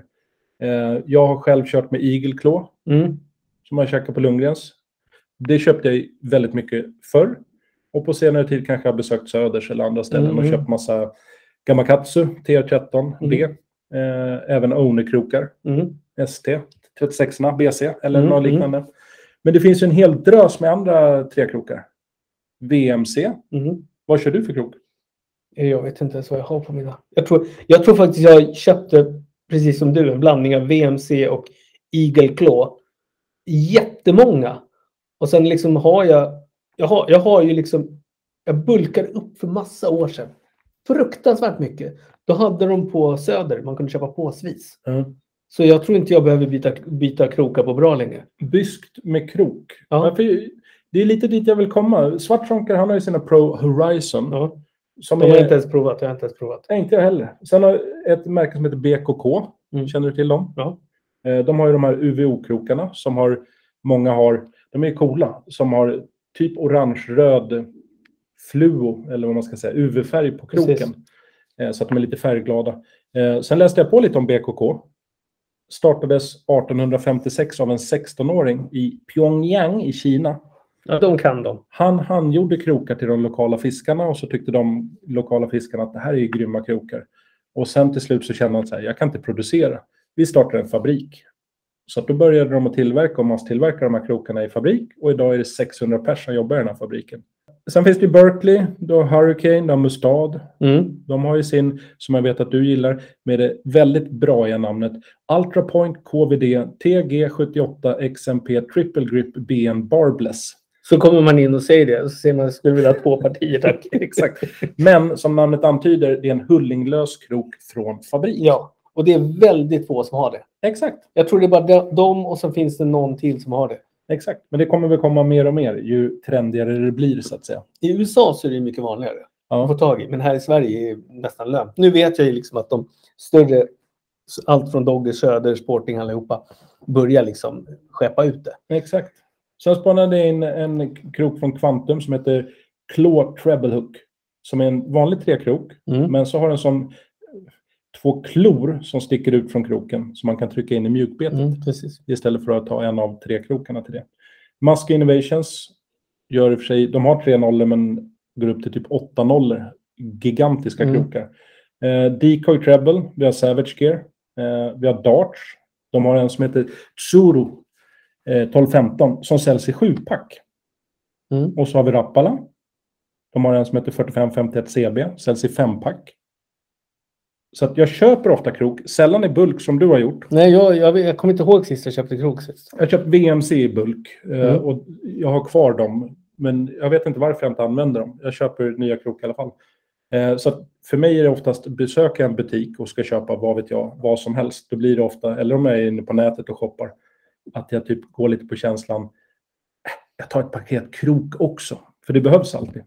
Eh, jag har själv kört med Eagle Claw, Mm. som man käkar på Lundgrens. Det köpte jag väldigt mycket förr. Och på senare tid kanske jag har besökt Söders eller andra ställen och Mm. köpt massa Gamakatsu, TR13B, eh, även Owner-krokar. Mm. ST, 36 BC eller Mm, något mm. liknande. Men det finns ju en hel drös med andra trekrokar. VMC, Mm. vad kör du för krok? Eh, Jag vet inte ens vad jag har på mina. Jag tror, jag tror faktiskt jag köpte, precis som du, en blandning av VMC och Eagle Claw. Jättemånga. Och sen liksom har jag... Jag har, jag har ju liksom... Jag bulkade upp för massa år sedan. fruktansvärt mycket. Då hade de på Söder, man kunde köpa påsvis. Ja. Så jag tror inte jag behöver byta, byta krokar på bra längre. Byskt med krok. Ja. Ja. för det är lite dit jag vill komma. Svartronker, han har ju sina Pro Horizon. Ja. Som De har är, jag inte ens provat. Jag har inte ens provat. Nej, inte jag heller. Sen har ett märke som heter BKK. Mm. Känner du till dem? Ja. Eh, De har ju de här UVO-krokarna som har, många har, de är coola, som har typ orange-röd fluo, eller vad man ska säga, UV-färg på kroken. Precis. Eh, Så att de är lite färgglada. Eh, Sen läste jag på lite om BKK. Startades 1856 av en 16-åring i Pyongyang i Kina. Ja, de kan de. Han, han gjorde krokar till de lokala fiskarna och så tyckte de lokala fiskarna att det här är ju grymma krokar. Och sen till slut så kände han så här, jag kan inte producera. Vi startar en fabrik. Så att då började de att tillverka och masstillverka de här krokarna i fabrik och idag är det 600 personer som jobbar i den här fabriken. Sen finns det ju Berkeley, du har Hurricane, du har Mustad. Mm. De har ju sin, som jag vet att du gillar, med det väldigt braiga namnet UltraPoint KVD TG78 XMP Triple Grip BN Barbless. Så kommer man in och säger det och så ser man att jag skulle vilja ha två partier tack. Exakt. Men som namnet antyder, det är en hullinglös krok från fabrik. Ja, och det är väldigt få som har det. Exakt. Jag tror det är bara de- de och sen finns det någon till som har det. Exakt. Men det kommer väl komma mer och mer ju trendigare det blir så att säga. I USA så är det mycket vanligare att få Ja. tag i, men här i Sverige är det nästan lönt. Nu vet jag ju liksom att de större, allt från Dogger, Söder, Sporting, allihopa, börjar liksom skeppa ut det. Exakt. Sen spanade jag in en krok från Quantum som heter Claw Treble Hook. Som är en vanlig trekrok, Mm. men så har den som två klor som sticker ut från kroken som man kan trycka in i mjukbetet. precis. istället för att ta en av tre krokarna till det. Musk Innovations gör i och för sig, de har tre nollor men går upp till typ åtta nollor. Gigantiska Mm. krokar. Eh, Decoy Treble, vi har Savage Gear, eh, vi har Darts. De har en som heter Tsuru eh, 1215 som säljs i sjupack. Mm. Och så har vi Rappala. De har en som heter 4551 CB, säljs i fempack. Så att jag köper ofta krok, sällan i bulk som du har gjort. Nej, jag, jag, jag kommer inte ihåg sist jag köpte krok sist. Jag har köpt VMC i bulk eh, Mm. och jag har kvar dem. Men jag vet inte varför jag inte använder dem. Jag köper nya krok i alla fall. Eh, så att för mig är det oftast besöka en butik och ska köpa vad vet jag, vad som helst. Då blir det ofta, eller om jag är inne på nätet och shoppar, att jag typ går lite på känslan. "Äh, Jag tar ett paket krok också, för det behövs alltid.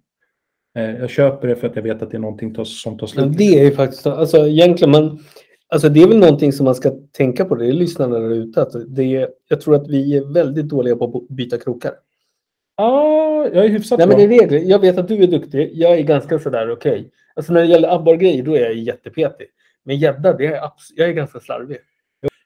Eh, jag köper det för att jag vet att det är någonting tas- som tar Men slut. det är ju faktiskt, alltså egentligen, man, alltså det är väl någonting som man ska tänka på, det är lyssnarna där ute. Att det är, jag tror att vi är väldigt dåliga på att byta krokar. Ah, jag är hyfsat Nej, men bra. i regler, jag vet att du är duktig, jag är ganska sådär okej. Alltså när det gäller abborrgrejer, då är jag jättepetig. Men gädda, det är jag abs- jag är ganska slarvig.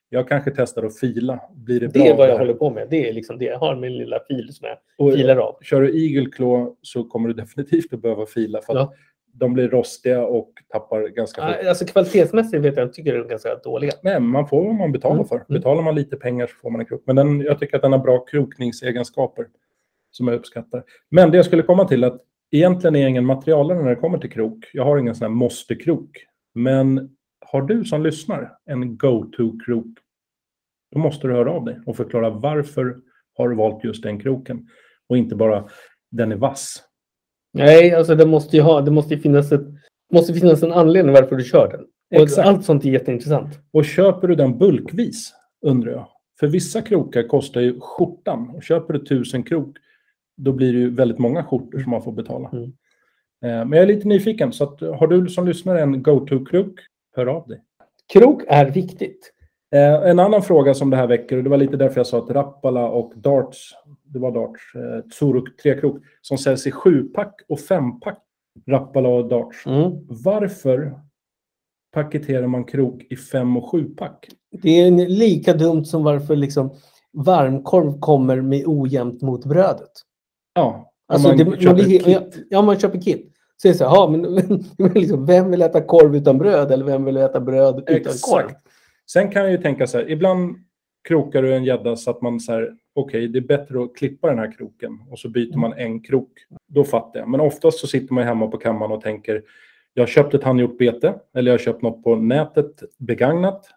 Jag kanske testar att fila. Blir det, Det bra? är vad jag här? håller på med. Det är liksom det. Jag har min lilla fil som jag Och- filar av. Kör du igelklå så kommer du definitivt att behöva fila för att Ja. de blir rostiga och tappar ganska fort. Alltså kvalitetsmässigt vet jag, tycker jag de är ganska dåliga. Nej, men man får vad man betalar Mm. för. Betalar man lite pengar så får man en krok. Men den, jag tycker att den har bra krokningsegenskaper som jag uppskattar. Men det jag skulle komma till är att egentligen är jag ingen materialare när det kommer till krok. Jag har ingen sån här måste-krok. Men har du som lyssnar en go-to-krok, då måste du höra av dig och förklara varför har du valt just den kroken och inte bara den är vass. Nej, alltså det måste ju, ha, det måste ju finnas, ett, måste finnas en anledning varför du kör den. Och Exakt. Allt sånt är jätteintressant. Och köper du den bulkvis, undrar jag? För vissa krokar kostar ju skjortan. Och köper du tusen krok, då blir det ju väldigt många skjortor som man får betala. Mm. Eh, Men jag är lite nyfiken, så att, har du som lyssnar en go-to-krok, hör av dig. Krok är viktigt. Eh, En annan fråga som det här väcker, och det var lite därför jag sa att Rappala och Darts, det var Darts, eh, Tsuruk trekrok, som säljs i sjupack och fempack, Rappala och Darts. Mm. Varför paketerar man krok i fem och sjupack? Det är en- lika dumt som varför liksom varmkorv kommer med ojämnt mot brödet. Ja, om Alltså, man det, köper man blir, kit. kit. Ja, man köper kit. Så är det så här, ja, men, men liksom, vem vill äta korv utan bröd eller vem vill äta bröd utan korv? Exakt. Sen kan jag ju tänka så här, ibland krokar du en gädda så att man så här, okej, det är bättre att klippa den här kroken och så byter man en krok. Då fattar jag. Men oftast så sitter man ju hemma på kammaren och tänker, jag har köpt ett handgjort bete eller jag har köpt något på nätet begagnat.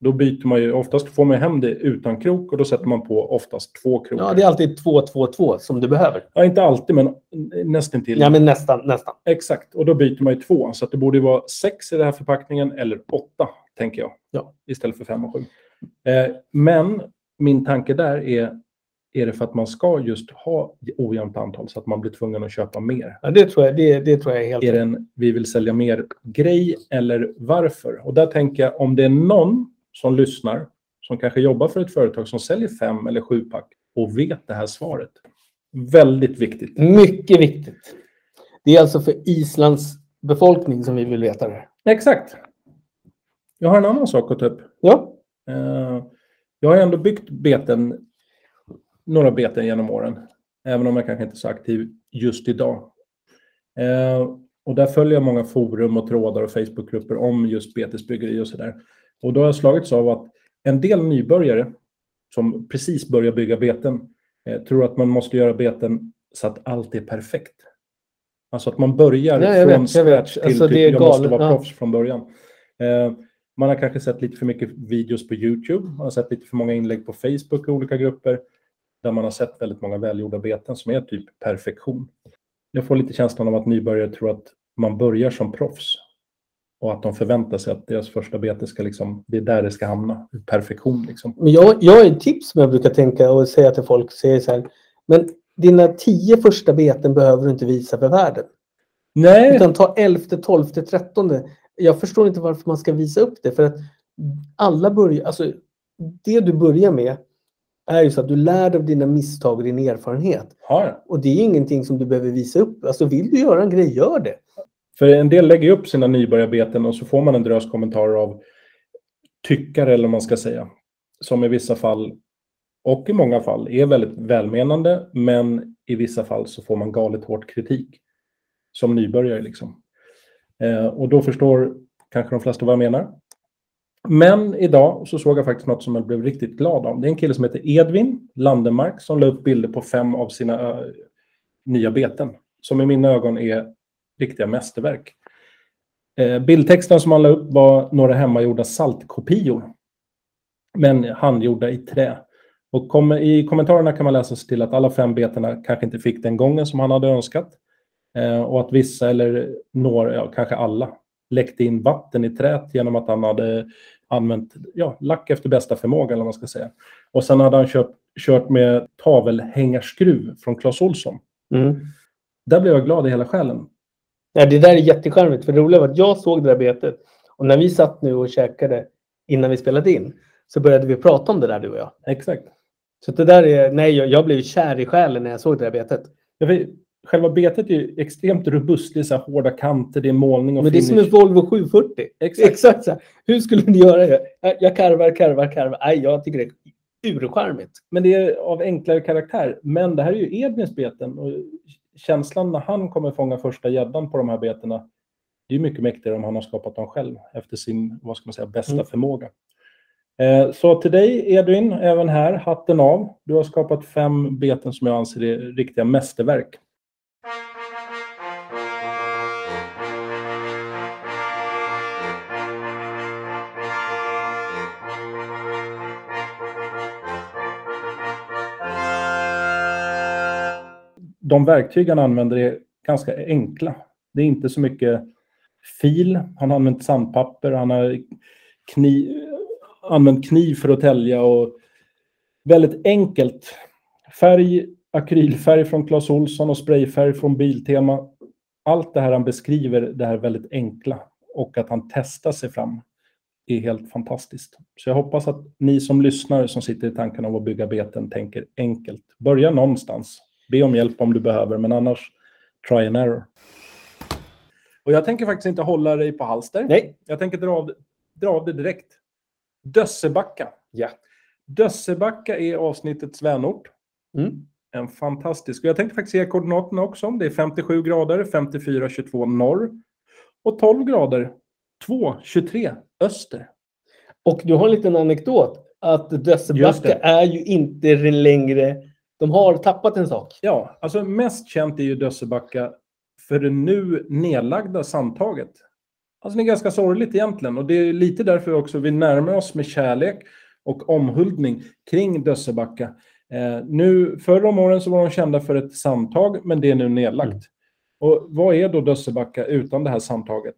Då byter man ju, oftast får man hem det utan krok och då sätter man på oftast två krokar. Ja, det är alltid 2-2-2 som du behöver. Ja, inte alltid, men nästan till. Ja, men nästan, nästan. Exakt, och då byter man ju två. Så att det borde ju vara sex i den här förpackningen eller åtta, tänker jag. Ja. Istället för fem och sju. Eh, men min tanke där är, är det för att man ska just ha ojämnt antal så att man blir tvungen att köpa mer? Ja, det tror jag, det, det tror jag är helt Är det en vi vill sälja mer grej eller varför? Och där tänker jag om det är någon som lyssnar som kanske jobbar för ett företag som säljer fem eller sju pack och vet det här svaret. Väldigt viktigt. Mycket viktigt. Det är alltså för Islands befolkning som vi vill veta det här. Exakt. Jag har en annan sak att ta upp. Ja, Eh, Jag har ändå byggt beten, några beten genom åren, även om jag kanske inte är så aktiv just idag. Eh, Och där följer jag många forum och trådar och Facebookgrupper om just betesbyggeri och sådär. Och då har jag slagits av att en del nybörjare som precis börjar bygga beten eh, tror att man måste göra beten så att allt är perfekt. Alltså att man börjar Nej, jag vet, från jag vet. scratch till Alltså, typ, det är jag måste galet, vara ja. proffs från början. Eh, man har kanske sett lite för mycket videos på YouTube. Man har sett lite för många inlägg på Facebook i olika grupper. Där man har sett väldigt många välgjorda beten som är typ perfektion. Jag får lite känslan av att nybörjare tror att man börjar som proffs. Och att de förväntar sig att deras första bete ska liksom, det är där det ska hamna. Perfektion liksom. Men jag, jag har ett tips som jag brukar tänka och säga till folk. Säger så här, men dina tio första beten behöver du inte visa för världen. Nej, Utan ta elfte, tolfte, trettonde. Jag förstår inte varför man ska visa upp det. För att alla börjar, alltså, det du börjar med är ju så att du lär dig av dina misstag och din erfarenhet. har jag. Och det är ingenting som du behöver visa upp. Alltså vill du göra en grej, gör det. För en del lägger ju upp sina nybörjarbeten och så får man en drös kommentarer av tyckare eller vad man ska säga. Som i vissa fall och i många fall är väldigt välmenande men i vissa fall så får man galet hårt kritik. Som nybörjare liksom. Eh, och då förstår kanske de flesta vad jag menar. Men idag så såg jag faktiskt något som jag blev riktigt glad av. Det är en kille som heter Edvin Landemark som la upp bilder på fem av sina eh, nya beten. Som i mina ögon är riktiga mästerverk. Eh, Bildtexten som han la upp var några hemmagjorda saltkopior. Men handgjorda i trä. Och kom, I kommentarerna kan man läsa sig till att alla fem betena kanske inte fick den gången som han hade önskat. Eh, och att vissa, eller några, ja, kanske alla, läckte in vatten i träet genom att han hade använt ja, lack efter bästa förmåga. Eller vad man ska säga. Och sen hade han köpt, kört med tavelhängarskruv från Clas Ohlson. Där blev jag glad i hela själen. Mm. Ja, det där är jättecharmigt. För det roliga var att jag såg det där betet. Och när vi satt nu och käkade innan vi spelade in så började vi prata om det där du och jag. Exakt. Så det där är, nej, jag, jag blev kär i själen när jag såg det där betet. Ja, för Själva betet är ju extremt robust. Det är så här hårda kanter, det är målning och Men det är finish. som en Volvo 740. Exakt. så här. Hur skulle ni göra det? Jag- Jag karvar, karvar, karvar. Nej, jag tycker det är urcharmigt. Men det är av enklare karaktär. Men det här är ju Edvins beten. Och känslan när han kommer fånga första gäddan på de här betena, det är ju mycket mäktigare om han har skapat dem själv efter sin, vad ska man säga, bästa Mm. förmåga. Eh, så till dig Edvin, även här, hatten av. Du har skapat fem beten som jag anser är riktiga mästerverk. de verktyg han använder är ganska enkla. Det är inte så mycket fil. Han har använt sandpapper, han har kni, använt kniv för att tälja och väldigt enkelt. Färg, akrylfärg från Clas Ohlson och sprayfärg från Biltema. Allt det här han beskriver, det här väldigt enkla och att han testar sig fram är helt fantastiskt. Så jag hoppas att ni som lyssnar som sitter i tanken om att bygga beten tänker enkelt. Börja någonstans. Be om hjälp om du behöver, men annars try and error. Och jag tänker faktiskt inte hålla dig på halster. Nej. Jag tänker dra av, dra av det direkt. Dössebacka. Ja. Dössebacka är avsnittets vänort. Mm. En fantastisk. Och jag tänkte faktiskt ge koordinaterna också. Det är 57 grader, 54, 22 norr. Och 12 grader, 2, 23 öster. Och du har en liten anekdot. Att Just det. Dössebacka är ju inte längre... De har tappat en sak. Ja, alltså mest känt är ju Dössebacka för det nu nedlagda Sandtaget. Alltså det är ganska sorgligt egentligen och det är lite därför också vi närmar oss med kärlek och omhuldning kring Dössebacka. Eh, nu, förr om åren så var de kända för ett samtag, men det är nu nedlagt. Mm. Och vad är då Dössebacka utan det här samtaget?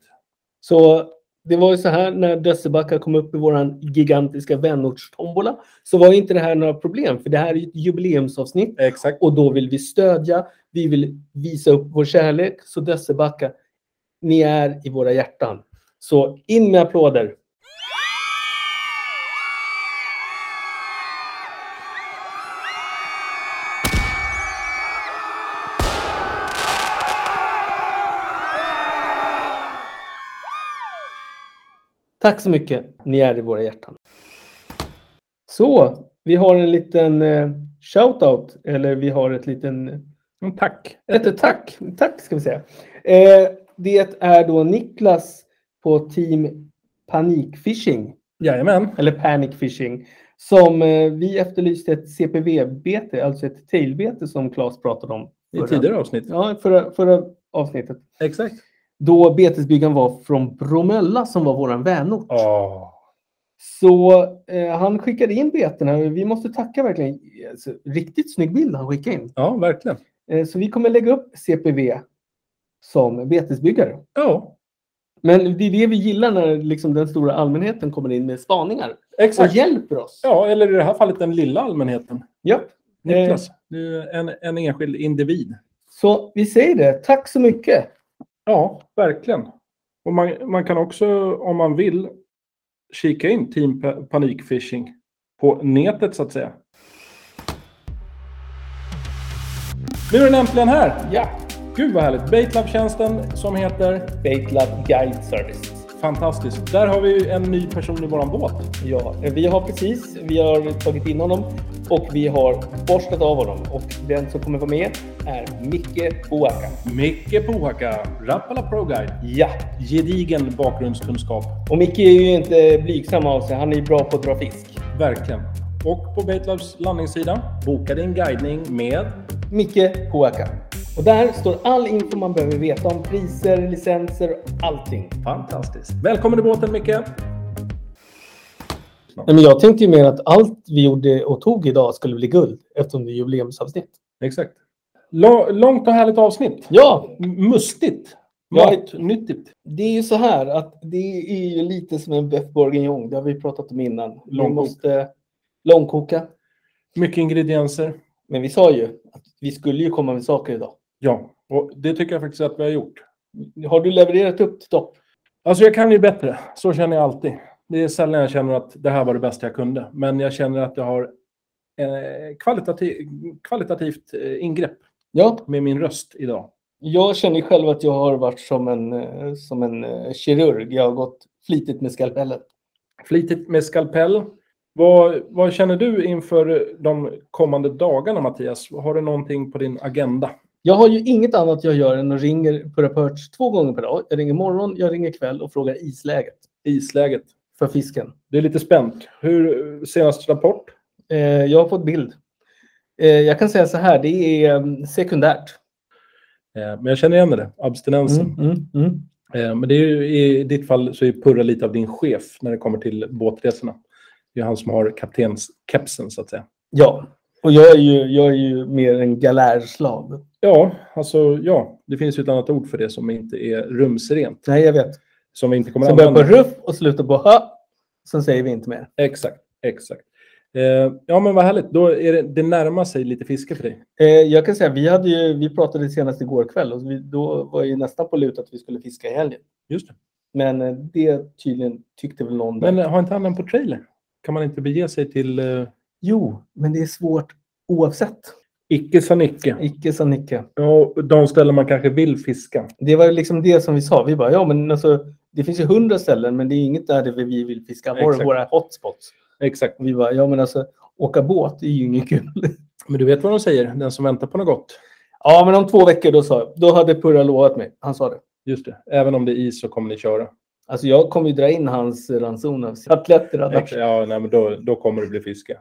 Så det var ju så här när Dössebacka kom upp i vår gigantiska vänortstombola så var ju inte det här några problem för det här är ju ett jubileumsavsnitt Exakt. och då vill vi stödja, vi vill visa upp vår kärlek. Så Dössebacka, ni är i våra hjärtan. Så in med applåder! Tack så mycket. Ni är i våra hjärtan. Så, vi har en liten eh, shout-out, eller vi har ett liten Mm, Tack. ett tack. Tack ska vi säga. Eh, det är då Niklas på team Panikfishing, Jajamän. eller Panic Fishing, som eh, vi efterlyste ett CPV-bete, alltså ett tailbete som Claes pratade om. I tidigare avsnitt. Ja, förra, förra avsnittet. Exakt. Då betesbyggaren var från Bromölla som var våran vänort. Oh. Så eh, han skickade in betena och vi måste tacka verkligen. Alltså, riktigt snygg bild han skickade in. Ja, verkligen. Eh, så vi kommer lägga upp CPV som betesbyggare. Ja, Men det är det vi gillar när liksom den stora allmänheten kommer in med spaningar exakt. och hjälper oss. Ja, eller i det här fallet den lilla allmänheten. Ja. Niklas, du Eh, är en, en enskild individ. Så vi säger det. Tack så mycket. Ja, verkligen. Och man, man kan också, om man vill, kika in Team Pa- Panikfishing på nätet så att säga. Nu är den äntligen här! Ja. Gud vad härligt! Baitlab-tjänsten som heter Bait Lab Guide Service. Fantastiskt. Där har vi ju en ny person i våran båt. Ja, vi har precis, vi har tagit in honom och vi har borstat av honom. Och den som kommer vara med är Micke Boaka. Micke Pohaka, Rappala Pro Guide. Ja, Gedigen bakgrundskunskap. och Micke är ju inte blygsam av sig. Han är ju bra på att dra fisk. Verkligen. Och på Baitlabs landningssida, boka din guidning med Micke Boaka. Och där står all info man behöver veta om priser, licenser, allting. Fantastiskt. Välkommen i båten Micke! Nej, men jag tänkte ju mer att allt vi gjorde och tog idag skulle bli guld eftersom det är jubileumsavsnitt. Exakt. Lå- långt och härligt avsnitt. Ja, M- Mustigt. Ja. Matnyttigt. det är ju så här att det är ju lite som en bœuf bourguignon. Det har vi pratat om innan. Vi Långkok. måste långkoka. Mycket ingredienser. Men vi sa ju att vi skulle ju komma med saker idag. Ja, och det tycker jag faktiskt att vi har gjort. Har du levererat upp till topp? Alltså jag kan ju bättre. Så känner jag alltid. Det är sällan jag känner att det här var det bästa jag kunde. Men jag känner att jag har eh, kvalitati- kvalitativt eh, ingrepp Ja, med min röst idag. jag känner själv att jag har varit som en, eh, som en eh, kirurg. Jag har gått flitigt med skalpellen. Flitigt med skalpell. Vad, vad känner du inför de kommande dagarna, Mattias? Har du någonting på din agenda? Jag har ju inget annat jag gör än att ringer på Rapörts två gånger per dag. Jag ringer morgon, jag ringer kväll och frågar isläget Isläget. för fisken. Det är lite spänt. Hur senaste rapport? Eh, jag har fått bild. Eh, jag kan säga så här, det är eh, sekundärt. Mm, Eh, men jag känner igen det, abstinensen. Eh, men det är ju, i ditt fall så är Purra lite av din chef när det kommer till båtresorna. Det är han som har kaptenskepsen, så att säga. Ja, och jag är ju, jag är ju mer en galärslav. Ja, alltså ja, det finns ju ett annat ord för det som inte är rumsrent. Nej, jag vet. Som vi inte kommer Som börjar på ruff och slutar på hö. Sen säger vi inte mer. Exakt, exakt. Eh, ja, men vad härligt. Då är det, det närmar sig lite fiske för dig. Eh, jag kan säga, vi, hade ju, vi pratade senast igår kväll och vi, då var ju nästan på lut att vi skulle fiska i helgen. Just det. Men eh, det tydligen tyckte väl någon. där. Men eh, har inte han den på trailer? Kan man inte bege sig till eh, Jo, men det är svårt oavsett. icke sa Nicke? Icke sa Nicke. Ja, de ställen man kanske vill fiska. Det var ju liksom det som vi sa. Vi bara, ja men alltså, det finns ju hundra ställen men det är inget där där vi vill fiska. Var är Exakt. våra hotspots? Exakt. Och vi bara, ja men alltså åka båt är ju inget kul. Men du vet vad de säger, den som väntar på något gott. ja men om två veckor då sa jag, då hade Purra lovat mig. Han sa det. Just det. Även om det är is så kommer ni köra. Alltså jag kommer ju dra in hans ranson av atletter annars. Ja, nej, men då, då kommer det bli fiske.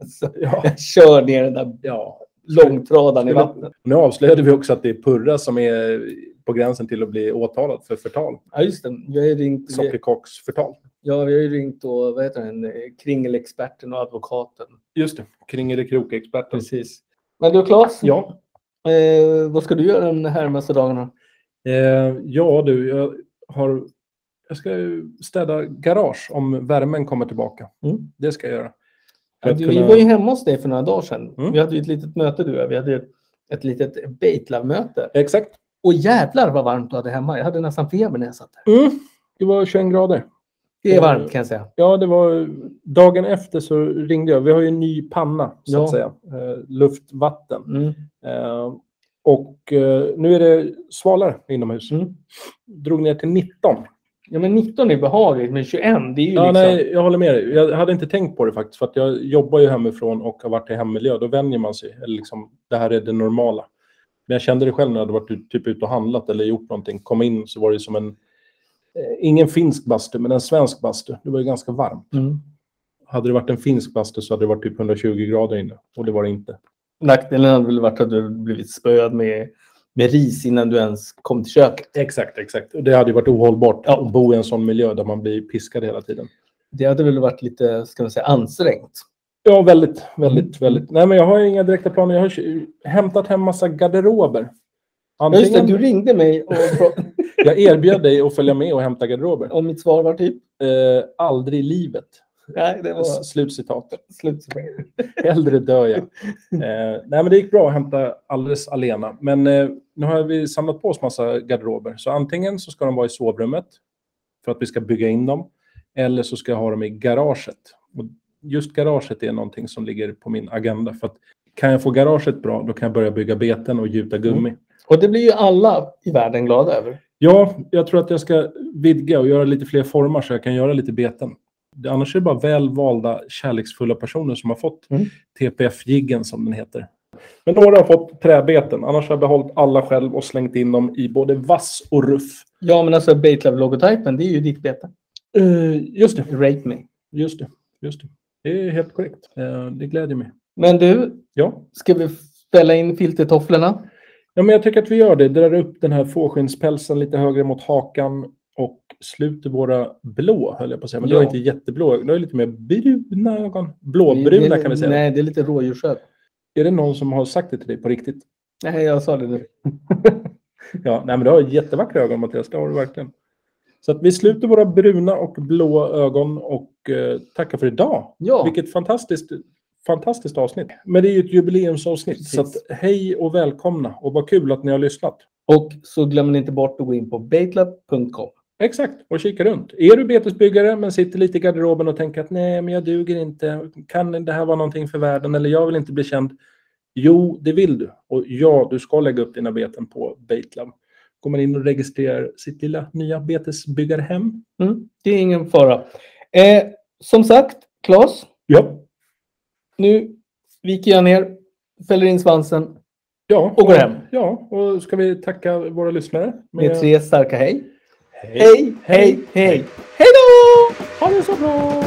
Alltså, Ja. jag kör ner den där ja. långtradaren i vattnet. Nu avslöjade vi också att det är Purra som är på gränsen till att bli åtalad för förtal. Ja, just det. Vi har ju ringt, vi, Sockerkocksförtal. ja, vi har ju ringt då, vad heter den, eh, kringelexperten och advokaten. Just det. Kringelikrokexperten. Precis. Men du Claes, Ja. eh, vad ska du göra de här närmaste dagarna? Eh, ja, du. Jag, har, jag ska ju städa garage om värmen kommer tillbaka. Mm. Det ska jag göra. För Ja, att du, Vi kunna- var ju hemma hos dig för några dagar sedan. Mm. Vi hade ju ett litet möte du och jag. Vi hade ju ett litet Baitlove-möte. Exakt. Och jävlar vad varmt du hade hemma. Jag hade nästan feber när jag satt där. Mm, Det var 21 grader. Det är Ja. varmt kan jag säga. Ja, det var dagen efter så ringde jag. Vi har ju en ny panna, så Ja. att säga. Eh, luftvatten. Mm. Eh, och eh, nu är det svalare inomhus. Mm. Drog ner till 19. Ja, men 19 är behagligt, men 21 det är ju Ja, liksom... nej, jag håller med dig. Jag hade inte tänkt på det faktiskt. För att jag jobbar ju hemifrån och har varit i hemmiljö. Då vänjer man sig. Eller liksom, det här är det normala. Men jag kände det själv när jag hade varit ut- typ ute och handlat eller gjort någonting. Kom in så var det som en... Eh, ingen finsk bastu, men en svensk bastu. Det var ju ganska varmt. Mm. Hade det varit en finsk bastu så hade det varit typ 120 grader inne. Och det var det inte. Nackdelen hade väl varit att du blivit spöad med, med ris innan du ens kom till köket. Exakt, exakt. Och det hade ju varit ohållbart att bo i en sån miljö där man blir piskad hela tiden. Det hade väl varit lite, ska man säga, ansträngt. Ja, väldigt, väldigt, väldigt. Nej, men jag har ju inga direkta planer. Jag har ju hämtat hem massa garderober. Ja, just det, Antingen, du ringde mig och frå- jag erbjöd dig att följa med och hämta garderober. och mitt svar var typ... Eh, aldrig i livet. Nej, det S- Slutcitat. slut. Hellre dör jag. Eh, nej, men det gick bra att hämta alldeles alena. Men eh, nu har vi samlat på oss massa garderober. Så antingen så ska de vara i sovrummet för att vi ska bygga in dem. Eller så ska jag ha dem i garaget. Och just garaget är någonting som ligger på min agenda. För att kan jag få garaget bra, då kan jag börja bygga beten och gjuta gummi. Och det blir ju alla i världen glada över. Ja, jag tror att jag ska vidga och göra lite fler formar så jag kan göra lite beten. Det- Annars är det bara välvalda, kärleksfulla personer som har fått Mm. TPF-jiggen som den heter. Men några har fått träbeten, annars har jag behållit alla själv och slängt in dem i både vass och ruff. Ja, men alltså Baitlove-logotypen, det är ju ditt bete. Eh, just det, Rape me. just det, just det. Det är helt korrekt. Eh, det gläder mig. Men du, Ja. ska vi ställa in filtertofflorna? ja, men jag tycker att vi gör det. Drar upp den här fåskinnspälsen lite högre mot hakan och sluter våra blå, höll jag på att säga. Men du har Ja. inte jätteblå, du har lite mer bruna ögon. Det Blåbruna är- kan vi säga. Nej, det är lite rådjursögon. Är det någon som har sagt det till dig på riktigt? Nej, jag sa det nu. Ja, nej, men du har jättevackra ögon Mattias, det har du verkligen. Så att vi sluter våra bruna och blå ögon och eh, tackar för idag. Ja. Vilket fantastiskt, fantastiskt avsnitt. Men det är ju ett jubileumsavsnitt. Precis. Så att, hej och välkomna och vad kul att ni har lyssnat. Och så glömmer ni inte bort att gå in på baitlab.com. Exakt, och kika runt. Är du betesbyggare men sitter lite i garderoben och tänker att nej, men jag duger inte. Kan det här vara någonting för världen? Eller jag vill inte bli känd. Jo, det vill du. Och ja, du ska lägga upp dina beten på Baitlab. Går man in och registrerar sitt lilla nya betesbyggarhem? Mm, det är ingen fara. Eh, som sagt, Claes, Ja. nu viker jag ner, fäller in svansen ja. Och går hem. Ja, och ska vi tacka våra lyssnare? med tre starka hej. Hej. Hej, hej, hej! Hej då! Ha det så bra!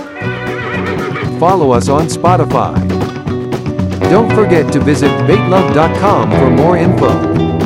Follow us on Spotify. Don't forget to visit baitlove.com for more info.